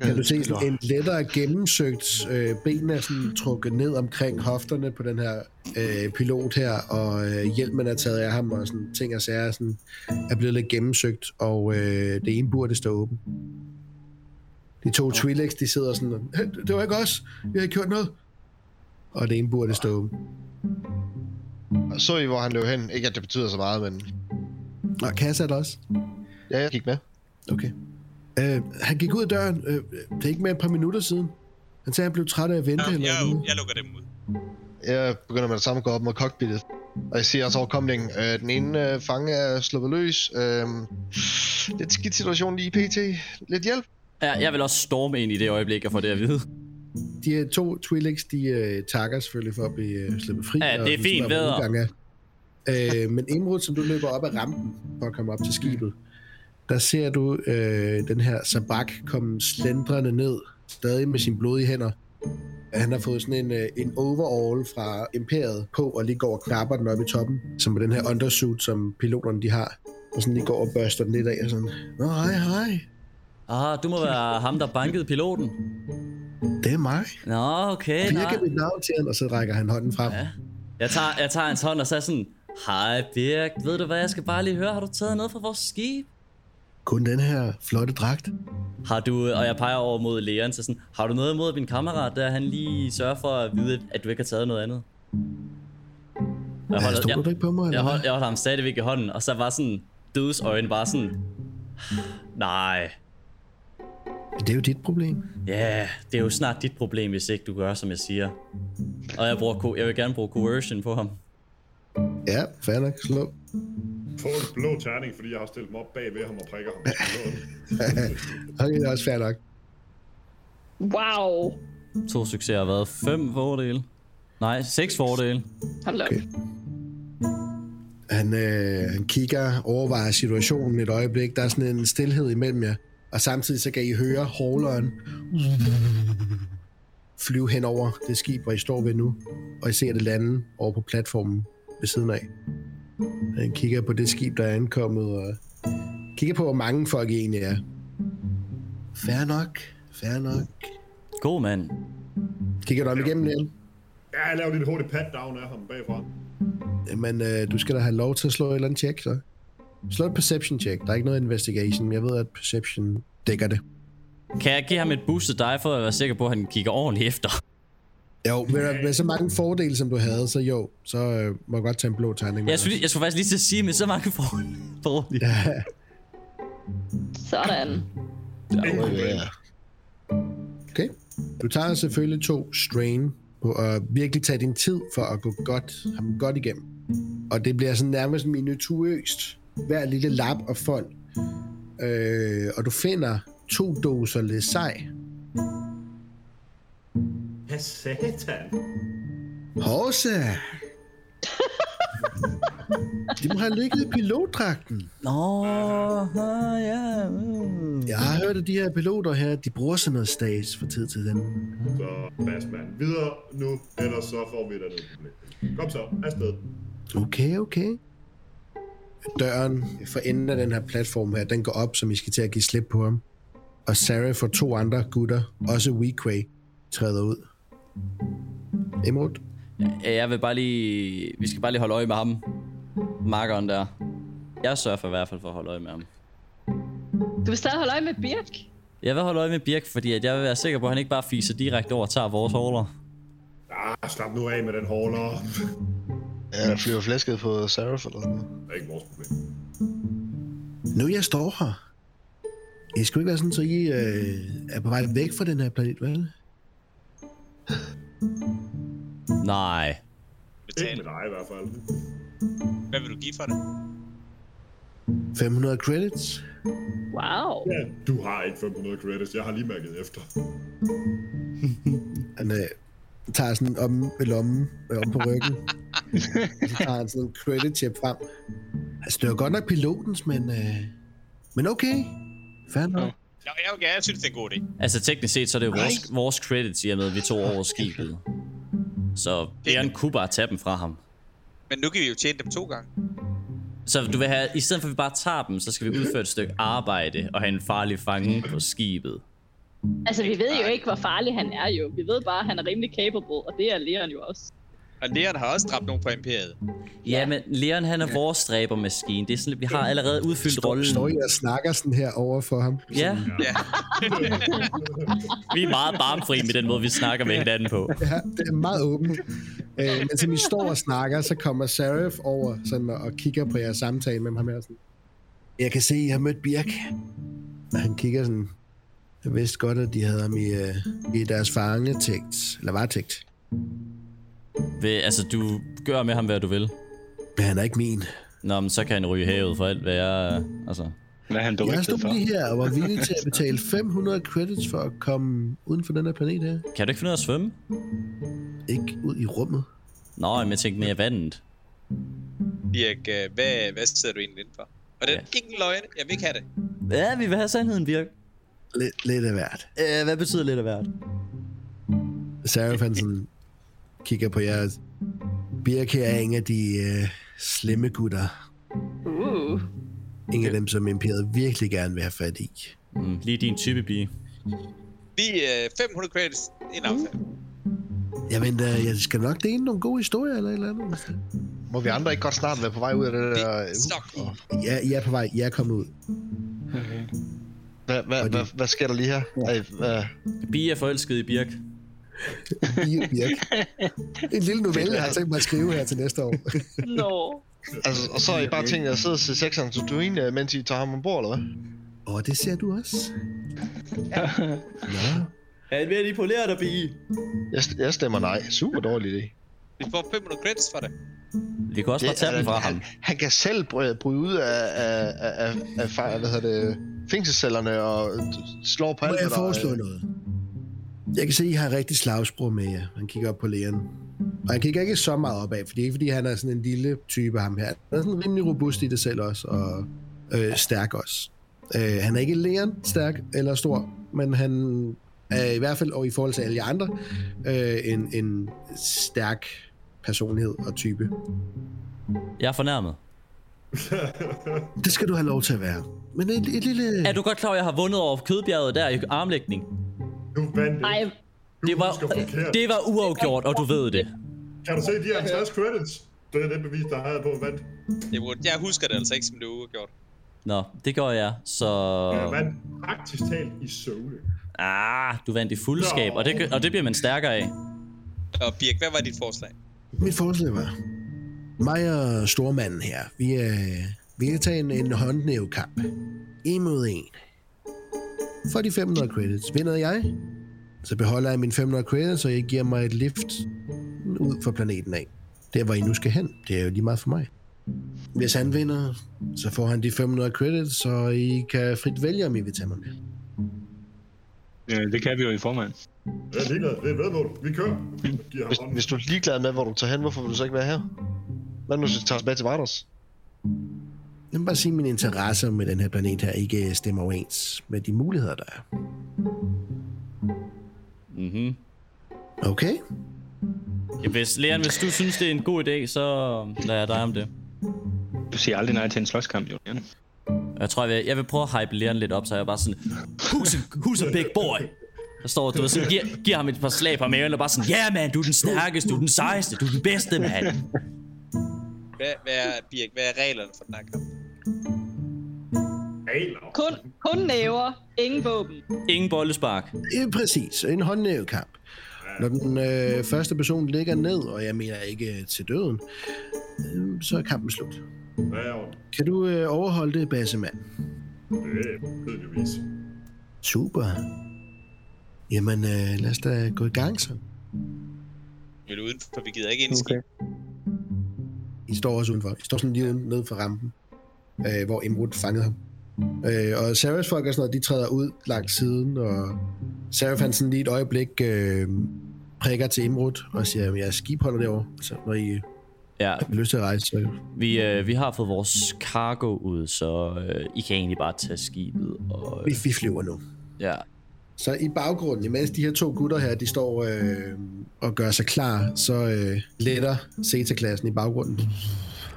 S1: kan du se sådan en lettere gennemsøgt øh, ben er sådan trukket ned omkring hofterne på den her øh, pilot her, og øh, hjelmen er taget af ham, og sådan ting og sager er sådan, er blevet lidt gennemsøgt, og øh, det ene burde stå åben. De to Twi'leks, de sidder sådan, "Øh, det var ikke os, vi har ikke gjort noget. Og det ene burde stå åben.
S5: Og Så I, hvor han løb hen. Ikke at det betyder så meget, men
S1: Og Kassa er der også.
S5: ja, jeg gik med.
S1: Okay. Øh, han gik ud af døren, øh, det er ikke mere et par minutter siden. Han sagde, han blev træt af at vente.
S3: Jeg,
S1: eller
S3: jeg,
S1: noget.
S3: jeg lukker dem ud.
S5: Jeg begynder med det samme at gå op mod cockpittet. Og jeg siger også overkomling. Øh, den ene øh, fange er sluppet løs. Øh, lidt skidt situation lige pt. Lidt hjælp.
S4: Ja, jeg vil også storme ind i det øjeblik, jeg får det at vide.
S1: De her to Twi'leks, de øh, takker selvfølgelig for at blive øh, sluppet fri.
S4: Ja,
S1: og
S4: det er
S1: vi
S4: fint,
S1: spørger, hvor
S4: vædder.
S1: udgangen er. Øh, men Imrud, som du løber op ad rampen for at komme op til skibet, der ser du øh, den her sabak komme slendrende ned, stadig med sine blodige hænder. Han har fået sådan en, øh, en overall fra Imperiet på, og lige går og knapper den op i toppen, som på den her undersuit, som piloterne de har. Og sådan lige går og børster den lidt af, og sådan, Nå, hej, hej,
S4: Ah, du må være ham, der bankede piloten.
S1: det er mig.
S4: Nå, okay. nej.
S1: Virker mit navn til ham, og så rækker han hånden frem.
S4: Ja. Jeg tager, jeg tager hans hånd og så er sådan, Hej Birk, ved du hvad, jeg skal bare lige høre, har du taget noget fra vores skib?
S1: Kun den her flotte dragt.
S4: Har du, og jeg peger over mod Leon, så sådan, har du noget imod at min kammerat, der han lige sørger for at vide, at du ikke har taget noget andet? Jeg
S1: Holder,
S4: holder,
S1: Stoler du
S4: jeg,
S1: ikke på mig?
S4: jeg,
S1: eller hvad?
S4: holder, jeg holder ham stadigvæk i hånden, og så var sådan, dødsøjne bare sådan, [sighs] nej,
S1: Det er jo dit problem.
S4: ja, yeah, det er jo snart dit problem, hvis ikke du gør, som jeg siger. Og jeg, bruger, co- jeg vil gerne bruge coercion på ham.
S1: Ja, fair nok. Slå.
S7: Få en blå terning, fordi jeg har stillet mig op bag ved ham og prikker ham.
S1: Okay, det er også fair nok.
S2: Wow.
S4: To succeser har været fem fordele. Nej, seks fordele.
S2: Hold da op.
S1: Okay. Han, øh, han kigger, overvejer situationen et øjeblik. Der er sådan en stillhed imellem jer. Og samtidig så kan I høre hauleren flyve hen over det skib, hvor I står ved nu. Og I ser det lande over på platformen ved siden af. Han kigger på det skib, der er ankommet, og kigger på, hvor mange folk I egentlig er. Fair nok, fair nok.
S4: God mand.
S1: Kigger du om igennem det?
S7: Ja, jeg laver lidt hurtigt pat down af ham bagfra.
S1: Jamen, øh, du skal da have lov til at slå et eller andet check, så. Slå et perception check. Der er ikke noget investigation. Jeg ved, at perception dækker det.
S4: Kan jeg give ham et boostet dig for at være sikker på, at han kigger ordentligt efter?
S1: Jo, men med, med så mange fordele, som du havde, så jo, så øh, må jeg godt tage en blå tegning. med
S4: Jeg skulle,
S1: dig.
S4: lige- jeg skulle faktisk lige til at sige, med så mange for, forordninger. Ja.
S2: Sådan.
S5: Ja.
S1: Okay. Du tager selvfølgelig to strain på at virkelig tage din tid for at gå godt, ham godt igennem. Og det bliver sådan nærmest minutøst. Hver lille lap og fold. Øh, og du finder to doser lesej.
S7: Hvad satan?
S1: Horse! De må have ligget i pilotdragten.
S4: Nå, ah, ja. mm.
S1: Jeg har hørt, at de her piloter her, de bruger sådan noget stas fra tid til den.
S7: Så Bassman, videre nu, ellers så får vi dig ned. Kom så, afsted.
S1: Okay, okay. Døren for enden af den her platform her, den går op, som I skal til at give slip på ham. Og Sarah får to andre gutter, også Weequay, træder ud. Imod.
S4: Ja, Jeg vil bare lige... Vi skal bare lige holde øje med ham. Markeren der. Jeg sørger for i hvert fald for at holde øje med ham.
S2: Du vil stadig holde øje med Birk?
S4: Jeg vil holde øje med Birk, fordi at jeg vil være sikker på, at han ikke bare fiser direkte over og tager vores hårler.
S7: Ah, slap nu af med den hårdere.
S5: Ja, der flyver flæsket på Seraph eller sådan noget.
S7: Det er ikke vores problem.
S1: Nu jeg står her. I skulle ikke være sådan, så I øh, er på vej væk fra den her planet, vel?
S4: Nej.
S7: Ikke med
S3: Betale.
S7: dig i hvert fald.
S3: Hvad vil du give for det?
S1: 500 credits.
S2: Wow.
S7: Ja, du har ikke 500 credits. Jeg har lige mærket efter. [laughs]
S1: Han øh, tager sådan om ved lommen, øh, om på ryggen. og så tager han sådan en credit chip frem. Altså, det var godt nok pilotens, men... Øh, men okay. Fair nok.
S3: Jeg, jeg, jeg, jeg synes, det er en god idé.
S4: Altså teknisk set, så er det jo vores, vores credits i og med, at vi tog over skibet. Så Bjørn kunne bare tage dem fra ham.
S3: Men nu kan vi jo tjene dem to gange.
S4: Så du vil have, i stedet for at vi bare tager dem, så skal vi udføre et stykke arbejde og have en farlig fange på skibet.
S2: Altså, vi ved jo ikke, hvor farlig han er jo. Vi ved bare, at han er rimelig capable, og det er Leon jo også.
S3: Og Leon har også dræbt nogen på imperiet.
S4: Ja, men Leon han er vores dræbermaskine. Det er sådan, lidt- vi har allerede udfyldt rollen.
S1: Står I og snakker sådan her over for ham?
S4: Ja,
S3: Ja.
S4: vi er meget barmfri med den måde, vi snakker med hinanden på.
S1: Ja, det er meget åbent. Øh, men som I står og snakker, så kommer Seraph over sådan, og- og kigger på jeres samtale med ham her. Sådan. Jeg kan se, I har mødt Birk. Og han kigger sådan. Jeg vidste godt, at de havde ham i, øh, i deres fangetægt. Eller varetægt.
S4: Ved, altså, du gør med ham, hvad du vil.
S1: Men han er ikke min.
S4: Nå, men så kan han ryge i havet for alt, hvad jeg... Altså,
S6: Hvad er han dog
S1: Jeg stod
S6: ikke for?
S1: lige her og var villig til at betale 500 credits for at komme uden for den her planet her.
S4: kan du ikke finde ud af at svømme?
S1: Ikke ud i rummet.
S4: Nå, men jeg tænkte mere vandet.
S3: Dirk, øh, hvad, hvad sidder du egentlig indenfor? Og den
S4: Ja.
S3: ja. ingen løgne, jeg vil ikke have det.
S4: Ja, vi vil have sandheden, Birk.
S1: Lidt, lidt af hvert.
S4: Øh, hvad betyder lidt af hvert?
S1: Seraph han sådan kigger på jer. Birk her er en af de øh, slemme gutter.
S2: Uh.
S1: En af dem, som imperiet virkelig gerne vil have fat i.
S4: Mm, lige din type pige.
S3: Lige øh, 500 credits, en aftale.
S1: Jeg venter, jeg skal nok dele nogle gode historier eller et eller andet. altså.
S5: Må vi andre ikke godt snart være på vej ud af det der...
S3: Det stok i.
S5: uh.
S1: Ja, I er på vej. Jeg er kommet ud.
S6: Okay.
S5: Hvad, hvad, hvad, hvad sker der lige her? Ej, hvad,
S4: Bi er forelsket i Birk.
S1: Birk, Birk. En lille novelle, jeg har tænkt mig at skrive her til næste år.
S2: Nå.
S5: altså, og så er I bare tænkt jer at sidde og se sexeren til Dwayne, øh, mens I tager ham ombord, eller hvad?
S1: Og det ser du også. Nå.
S4: Er han ved at impolere dig, Bi?
S5: Jeg, st- jeg stemmer nej. Super dårlig idé.
S3: Vi får 500 credits for det.
S4: Vi kan også bare tage
S5: er-
S4: dem fra ham.
S5: han, han kan selv bry- bryde ud af, af, af, af, af fej- hvad hedder det, fængselscellerne og d- slår på
S1: Må
S5: alt,
S1: jeg
S5: hvad der-
S1: foreslå noget? Jeg kan se, at I har rigtig slagsbrug med jer. Han kigger op på lægeren. Og han kigger ikke så meget opad, for det er ikke, fordi han er sådan en lille type, ham her. Han er sådan rimelig robust i det selv også, og øh, stærk også. Øh, han er ikke lægeren stærk eller stor, men han er i hvert fald, og i forhold til alle jer andre, øh, en, en stærk personlighed og type.
S4: Jeg er fornærmet.
S1: Det skal du have lov til at være. Men et, et lille...
S4: Er du godt klar, at jeg har vundet over Kødbjerget der i armlægning?
S7: Du vandt
S2: Ej,
S7: ikke. Du
S4: Det var,
S7: husker forkert.
S4: det var uafgjort, og du ved det.
S7: Kan du se de her 50 credits? Det er det bevis, der har jeg på, at vandt.
S3: Jeg, burde, jeg husker det altså ikke, som det er uafgjort.
S4: Nå, det gør jeg, så...
S7: Jeg vandt praktisk talt i søvne.
S4: Ah, du vandt i fuldskab, og det, gør- og det bliver man stærkere af.
S3: Og Birk, hvad var dit forslag?
S1: Mit forslag var, mig og stormanden her, vi, øh, vi kan tage en, en håndnævekamp. En mod en. For de 500 credits vinder jeg, så beholder jeg mine 500 credits, og jeg giver mig et lift ud fra planeten af. Der, hvor I nu skal hen, det er jo lige meget for mig. Hvis han vinder, så får han de 500 credits, så I kan frit vælge, om I vil tage mig med.
S6: Ja, det kan vi jo i forvejen.
S7: Jeg er ligeglad. Det er et vedmål. Vi kører. Giver ham
S5: Hvis,
S7: hånden.
S5: hvis du er ligeglad med, hvor du tager hen, hvorfor vil du så ikke være her? Hvad nu, hvis du tager tilbage til Vardos?
S1: Jeg må bare sige, at mine interesser med den her planet her ikke stemmer overens med de muligheder, der er.
S4: Mhm.
S1: Okay?
S4: Ja, Hvis, Leon, hvis du synes, det er en god idé, så lader jeg dig om det.
S6: Du siger aldrig nej til en slåskamp, Julian.
S4: Og Jeg tror, jeg vil, jeg vil prøve at hype Leon lidt op, så jeg er bare sådan, who's a, who's a big boy? Der står, du ved, sådan, giver, giver ham et par slag på maven, og bare sådan, ja yeah, mand, du er den stærkeste, du er den sejeste, du er den bedste, mand.
S3: Hvad, hvad er, Birk, hvad er reglerne for den her kamp?
S7: Regler.
S2: kun, kun næver, ingen våben.
S4: Ingen bollespark.
S1: Øh, præcis. En håndnævekamp. Når den øh, første person ligger ned, og jeg mener ikke til døden, øh, så er kampen slut.
S7: Hvad er det?
S1: Kan du øh, overholde det, Bassemand?
S7: Det er tydeligvis.
S1: Super. Jamen, øh, lad os da gå i gang så.
S3: Vi vil uden, for vi gider ikke indskrive. Okay.
S1: I står også udenfor. I står sådan lige uden, nede for rampen, øh, hvor Imrud fangede ham. Øh, og Sarahs folk og sådan noget, de træder ud langs siden, og Sarah han sådan lige et øjeblik øh, prikker til Imrud og siger, at jeres skib holder derovre. Så når I
S4: Ja,
S1: har lyst til at rejse, så
S4: vi, øh, vi har fået vores cargo ud, så øh, I kan egentlig bare tage skibet og...
S1: vi,
S4: Øh,
S1: vi flyver nu.
S4: Ja.
S1: Så i baggrunden, imens de her to gutter her, de står øh, og gør sig klar, så øh, letter Zeta-klassen i baggrunden.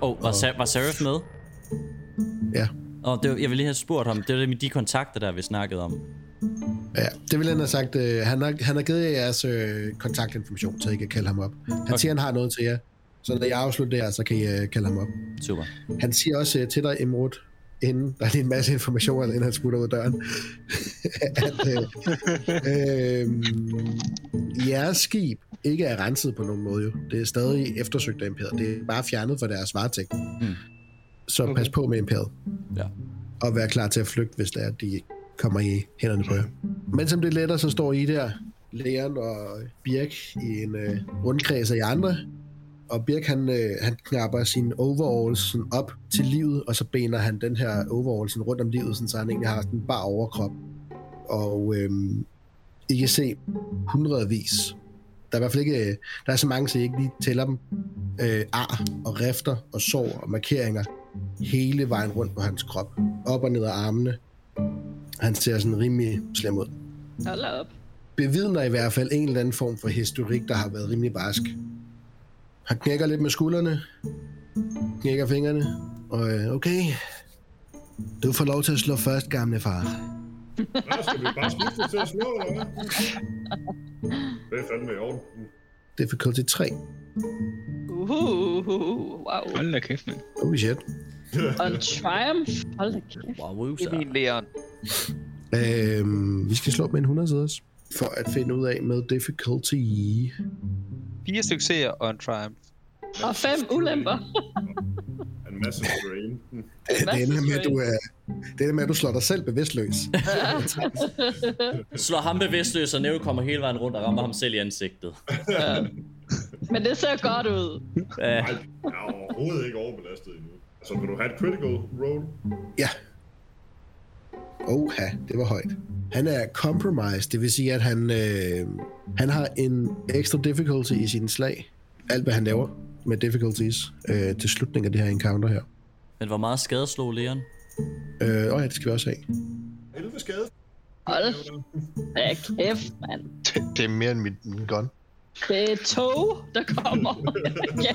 S4: Oh, var, Sa- var Seraph med?
S1: Ja.
S4: Og det var, jeg ville lige have spurgt ham. Det var det med de kontakter, der vi snakkede om.
S1: Ja, det vil han have sagt. Øh, han, har, han har givet jer jeres øh, kontaktinformation, så I kan kalde ham op. Han okay. siger, han har noget til jer. Så når jeg afslutter det her, så kan I øh, kalde ham op.
S4: Super.
S1: Han siger også øh, til dig, Imrud, inden der er lige en masse information, inden han smutter ud af døren, [laughs] at øh, øh, jeres skib ikke er renset på nogen måde. Jo. Det er stadig eftersøgt af imperiet. Det er bare fjernet fra deres varetægt. Mm. Så okay. pas på med imperiet.
S4: Ja.
S1: Og vær klar til at flygte, hvis det er, at de kommer i hænderne på jer. Men som det letter, så står I der, Leon og Birk, i en øh, rundkreds af jer andre, og Birk han, øh, han knapper sin overalls sådan op til livet, og så bener han den her overall sådan rundt om livet, sådan, så han egentlig har sådan en bar overkrop. Og øh, I kan se hundredvis. Der er i hvert fald ikke, øh, der er så mange, så I ikke lige tæller dem. Øh, ar og rifter og sår og markeringer hele vejen rundt på hans krop. Op og ned af armene. Han ser sådan rimelig slem ud.
S2: Hold da op.
S1: Bevidner i hvert fald en eller anden form for historik, der har været rimelig barsk. Han knækker lidt med skuldrene, knækker fingrene, og øh, okay, du får lov til at slå først, gamle far.
S7: Hvad skal vi bare skifte til at slå, eller hvad? Det er fandme i orden.
S1: Difficulty 3.
S2: Uhuhuhu, Uh. wow.
S6: Hold da kæft, mand.
S1: Oh shit.
S2: On triumph. Hold da kæft.
S4: Wow,
S3: Det er min Leon.
S1: Øhm, vi skal slå med en 100 siders for at finde ud af med difficulty.
S3: Fire succeser og en triumph.
S2: Og fem ulemper.
S7: En masse strain.
S1: Det ender med, at du
S2: Massive
S1: er, det ender med, at du slår dig selv bevidstløs.
S4: Slår ham bevidstløs, og Neo kommer hele vejen rundt og rammer ham selv i ansigtet.
S2: Men det ser godt ud.
S4: Ja,
S7: Nej, jeg er overhovedet ikke overbelastet endnu. Så vil du have et critical roll?
S1: Ja. Oha, det var højt. Han er compromised, det vil sige, at han, øh, han har en ekstra difficulty i sine slag. Alt, hvad han laver med difficulties øh, til slutningen af det her encounter her.
S4: men hvor meget skade slog Leon?
S1: Øh, og ja, det skal vi også have.
S7: 11 skade.
S2: Hold da kæft, mand.
S5: Det, det er mere end min, min gun.
S2: Det er tog, der kommer. [laughs] ja.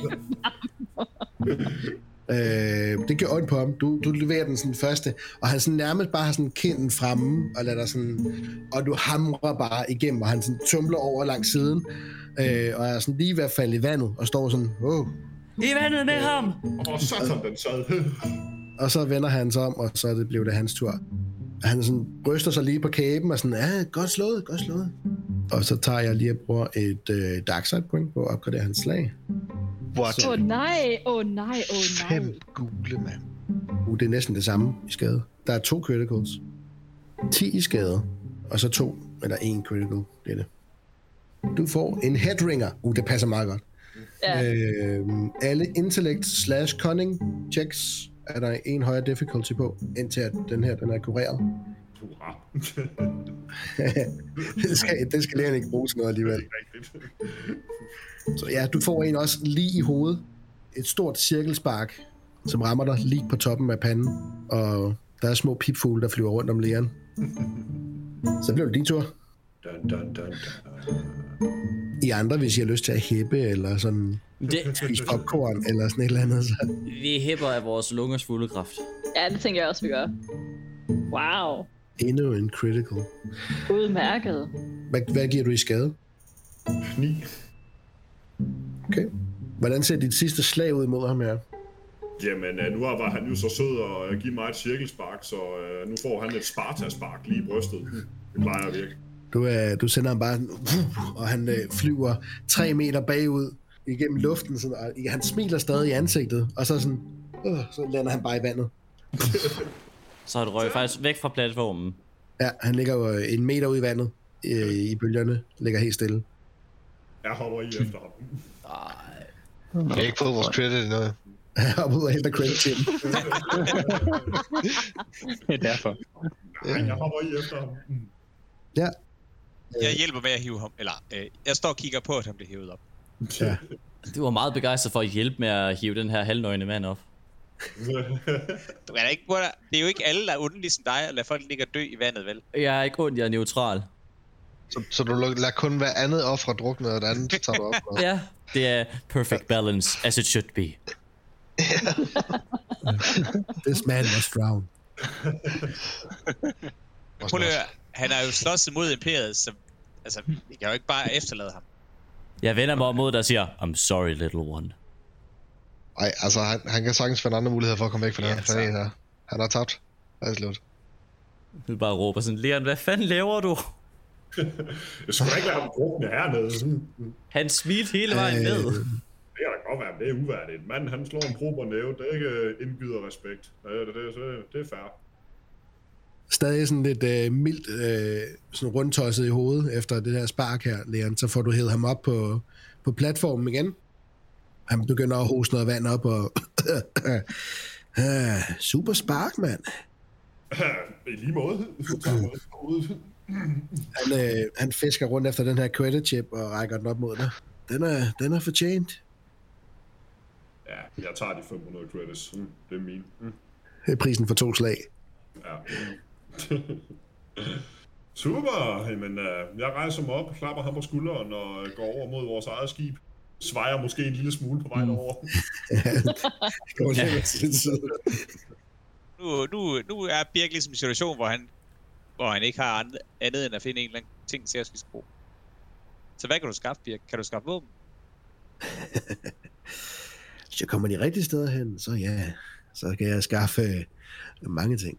S1: Øh, det gør ondt på ham. Du, du leverer den sådan første, og han sådan nærmest bare har sådan kinden fremme, og lader dig sådan, og du hamrer bare igennem, og han sådan tumler over langs siden, øh, og er sådan lige ved at falde i vandet, og står sådan, åh.
S4: I vandet med ham!
S7: Åh, satan, den sad.
S1: Og så vender han sig om, og så er det blev det hans tur. Han sådan ryster sig lige på kæben, og sådan, ja, godt slået, godt slået. Og så tager jeg lige og bruger et øh, darkside point på at opgradere hans slag.
S5: What?
S2: Åh oh, nej, åh oh, nej, åh oh, nej.
S5: Fem gule, mand.
S1: Uh, det er næsten det samme i skade. Der er to criticals. 10 i skade, og så to, eller en critical, det er det. Du får en headringer. Uh, det passer meget godt.
S2: Ja.
S1: Øh, alle intellect slash cunning checks er der en højere difficulty på, indtil at den her den er kureret.
S7: Hurra.
S1: det skal, det skal lægen ikke bruge til noget alligevel.
S7: Rigtigt.
S1: Så ja, du får en også lige i hovedet. Et stort cirkelspark, som rammer dig lige på toppen af panden. Og der er små pipfugle, der flyver rundt om lægeren. Så blev det din tur.
S7: Dun, dun, dun, dun.
S1: I andre, hvis I har lyst til at hæppe, eller sådan
S4: Det,
S1: spise popcorn, eller sådan et eller andet. Så.
S4: vi hæpper af vores lungers fulde kraft.
S2: ja, det tænker jeg også, vi gør. Wow,
S1: Endnu en critical.
S2: udmærket.
S1: Hvad, hvad giver du i skade?
S7: 9.
S1: Okay. Hvordan ser dit sidste slag ud mod ham her?
S7: Jamen, øh, nu var han jo så sød og øh, give mig et cirkelspark, så øh, nu får han et Sparta-spark lige i brystet. Det plejer at virke.
S1: Du, øh, du sender ham bare sådan, uh, og han øh, flyver tre meter bagud igennem luften, sådan, og han smiler stadig i ansigtet, og så sådan, øh, så lander han bare i vandet.
S4: Så han røg faktisk væk fra platformen.
S1: Ja, han ligger jo øh, en meter ud i vandet øh, i bølgerne, ligger helt stille.
S7: Jeg hopper i efter ham.
S5: Vi har ikke fået vores credit eller noget.
S1: Han hopper ud [laughs] og henter credit til den.
S6: Det er derfor.
S7: Nej, jeg hopper i efter ham.
S1: Ja,
S3: Jeg hjælper med at hive ham. Eller, øh, jeg står og kigger på, at han bliver hævet op.
S1: ja.
S4: Du var meget begejstret for at hjælpe med at hive den her halvnøgne mand op.
S3: Du er da ikke, bror, det er jo ikke alle, der er onde ligesom dig, og lader folk ligge og dø i vandet, vel?
S4: Jeg er ikke ond, jeg er neutral.
S5: Så, så du luk- lader kun hver andet offer drukne, og det andet så tager du op. Og...
S4: Ja. Det er perfect balance, as it should be.
S1: This man was drowned.
S5: og
S3: Prøv
S5: sådan
S3: lige at
S5: noget.
S3: høre, han har jo slåsset mod imperiet, så altså, vi kan jo ikke bare efterlade ham.
S4: Jeg vender mig om mod dig og siger, I'm sorry, little one.
S5: Ej, altså han, han kan sagtens finde andre muligheder for at komme væk fra den
S3: Ja,
S5: her
S3: altså.
S5: planet her. Han har tabt. Det er slut.
S4: Du bare råber sådan, Leon, hvad fanden laver du?
S7: Jeg skulle da ikke lade ham drukne hernede. Sådan,
S4: Han smilte hele vejen
S1: Øh.
S4: ned.
S7: Det kan da godt være, men det er uværdigt. Manden, han slår en prober næve, det er ikke øh, indgyder respekt. Ja, Det, det, det, det er fair. [clears throat]
S1: Stadig sådan lidt øh, mildt øh, sådan rundtosset i hovedet efter det her spark her, Leon. Så får du hævet ham op på, på platformen igen. Han begynder at hoste noget vand op og... [coughs] Ah, Super spark, mand.
S7: I lige måde. Tak måde. Ude.
S1: Han, øh, han fisker rundt efter den her credit chip og rækker den op mod dig. Den er, den er fortjent.
S7: Ja, jeg tager de 500 credits. Mm, det er min. Mm.
S1: Det er prisen for to slag. [laughs]
S7: Ja. [laughs] Super! Jamen, øh, jeg rejser mig op, klapper ham på skulderen og øh, går over mod vores eget skib. Svejer måske en lille smule på vejen over. [laughs]
S1: Går lidt med sin side.
S3: Nu, nu, nu er Birk ligesom i en situation, hvor han, hvor han ikke har andet, andet end at finde en eller anden ting til os, vi skal bruge. Så hvad kan du skaffe, Birk? Kan du skaffe våben?
S1: Hvis jeg kommer de rigtige steder hen, så ja, så kan jeg skaffe øh, mange ting.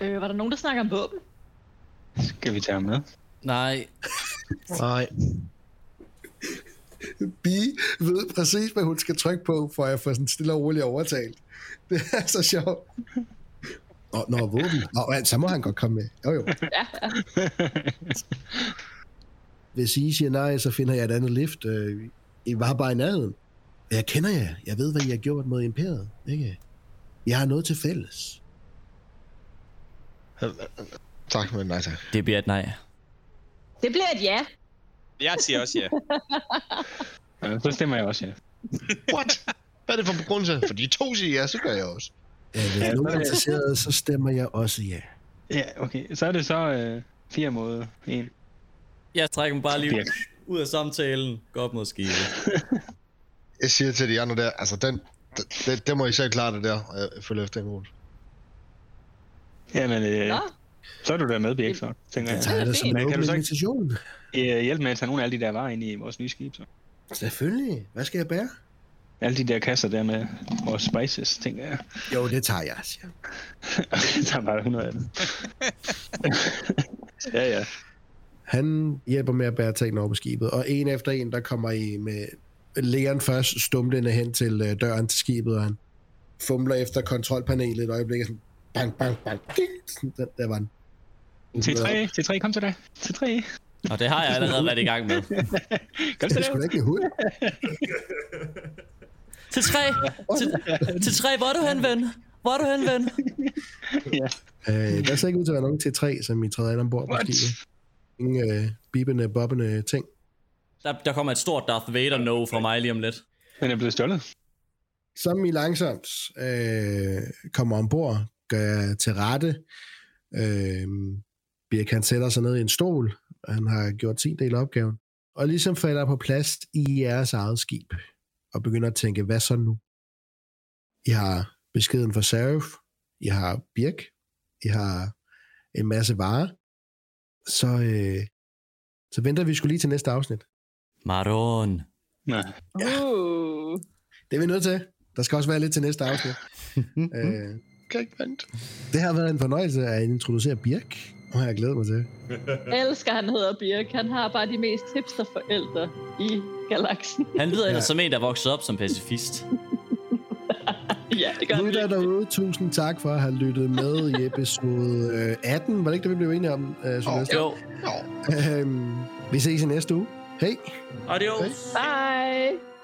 S2: Øh, var der nogen, der snakker om våben?
S6: Skal vi tage ham med?
S4: Nej,
S5: Nej.
S1: Bi ved præcis, hvad hun skal trykke på, for at få sådan stille og roligt overtalt. Det er så sjovt. Nå, når våben. Nå, ja, så må han godt komme med. Jo, jo.
S2: Ja, ja.
S1: Hvis I siger nej, så finder jeg et andet lift. Øh, I var bare i nærheden. Jeg kender jer. Jeg ved, hvad I har gjort mod imperiet. Ikke? Jeg har noget til fælles.
S5: Tak, men nej tak.
S4: det bliver et nej.
S2: Det bliver et ja.
S3: Jeg siger også ja.
S6: Ja, så stemmer jeg også, ja.
S5: What? Hvad er det for begrundelse? [laughs] Fordi to siger ja, så gør jeg også.
S1: Øh, hvis
S6: Ja,
S1: nogen
S6: så er
S1: er
S6: det-
S1: interesseret, Øh, så stemmer jeg også ja.
S6: Ja, okay. Så er det så øh, fire mod en.
S4: Jeg trækker mig bare lige
S6: Birk.
S4: ud af samtalen, går op mod skibet.
S5: Jeg siger til de andre der, altså den, den, den, den må I selv klare det der, og jeg følger efter imod.
S6: Jamen, øh,
S2: Nå,
S6: så er du der med, Birk, så tænker jeg.
S1: Jeg tager det som en
S6: Men kan
S1: åben
S6: du så ikke
S1: invitation.
S6: øh, hjælpe med at tage nogle af alle de der varer ind i vores nye skib, så?
S1: Selvfølgelig. Hvad skal jeg bære?
S6: Alle de der kasser der med vores spices, tænker jeg. [laughs]
S1: Jo, det tager jeg, siger han.
S6: der er bare 100 af dem. [laughs] ja, ja.
S1: Han hjælper med at bære tingene over på skibet, og en efter en, der kommer I med lægeren først stumlende hen til øh, døren til skibet, og han fumler efter kontrolpanelet et øjeblik, og sådan bang, bang, bang, ding, sådan, der, der var den.
S6: T3, T3, kom til dig. T3,
S4: Og det har jeg allerede været i gang med.
S6: kom
S1: Det
S6: til
S1: er
S6: dig.
S1: sgu da ikke en hund.
S4: Til tre! Til, til tre, hvor er du hen, ven? Hvor er du hen, ven?
S1: Øh, der ser ikke ud til at være nogen til tre, som I træder ind ombord på
S6: What?
S1: skibet. Ingen øh, bibende, bobbende ting.
S4: Der, der kommer et stort Darth Vader no fra mig lige om lidt.
S6: Den er blevet stjålet.
S1: som I langsomt øh, kommer ombord, gør jer til rette. Øh, Birk han sætter sig ned i en stol, og han har gjort sin del af opgaven. Og ligesom falder på plads i jeres eget skib, og begynder at tænke, hvad så nu? I har beskeden fra Serif, I har Birk, I har en masse varer. Så, øh, så venter vi skulle lige til næste afsnit.
S4: Maron.
S6: Nej.
S2: Uh.
S1: Det er vi nødt til. Der skal også være lidt til næste afsnit. øh,
S5: Kan ikke vente.
S1: Det har været en fornøjelse at introducere Birk, og jeg glæder mig til.
S2: Elsker, han hedder Birk. Han har bare de mest hipsterforældre i galaksen. [laughs]
S4: Han lyder ellers
S1: Ja.
S4: som en, der voksede op som pacifist.
S2: ja, det gør han
S1: Lytter
S2: virkelig.
S1: derude, tusind tak for at have lyttet med i episode øh, 18. Var det ikke det, vi blev enige om, øh, Sylvester?
S4: Jo.
S5: Nå.
S1: Øhm, vi ses i næste uge. Hej!
S4: Adios.
S2: Bye.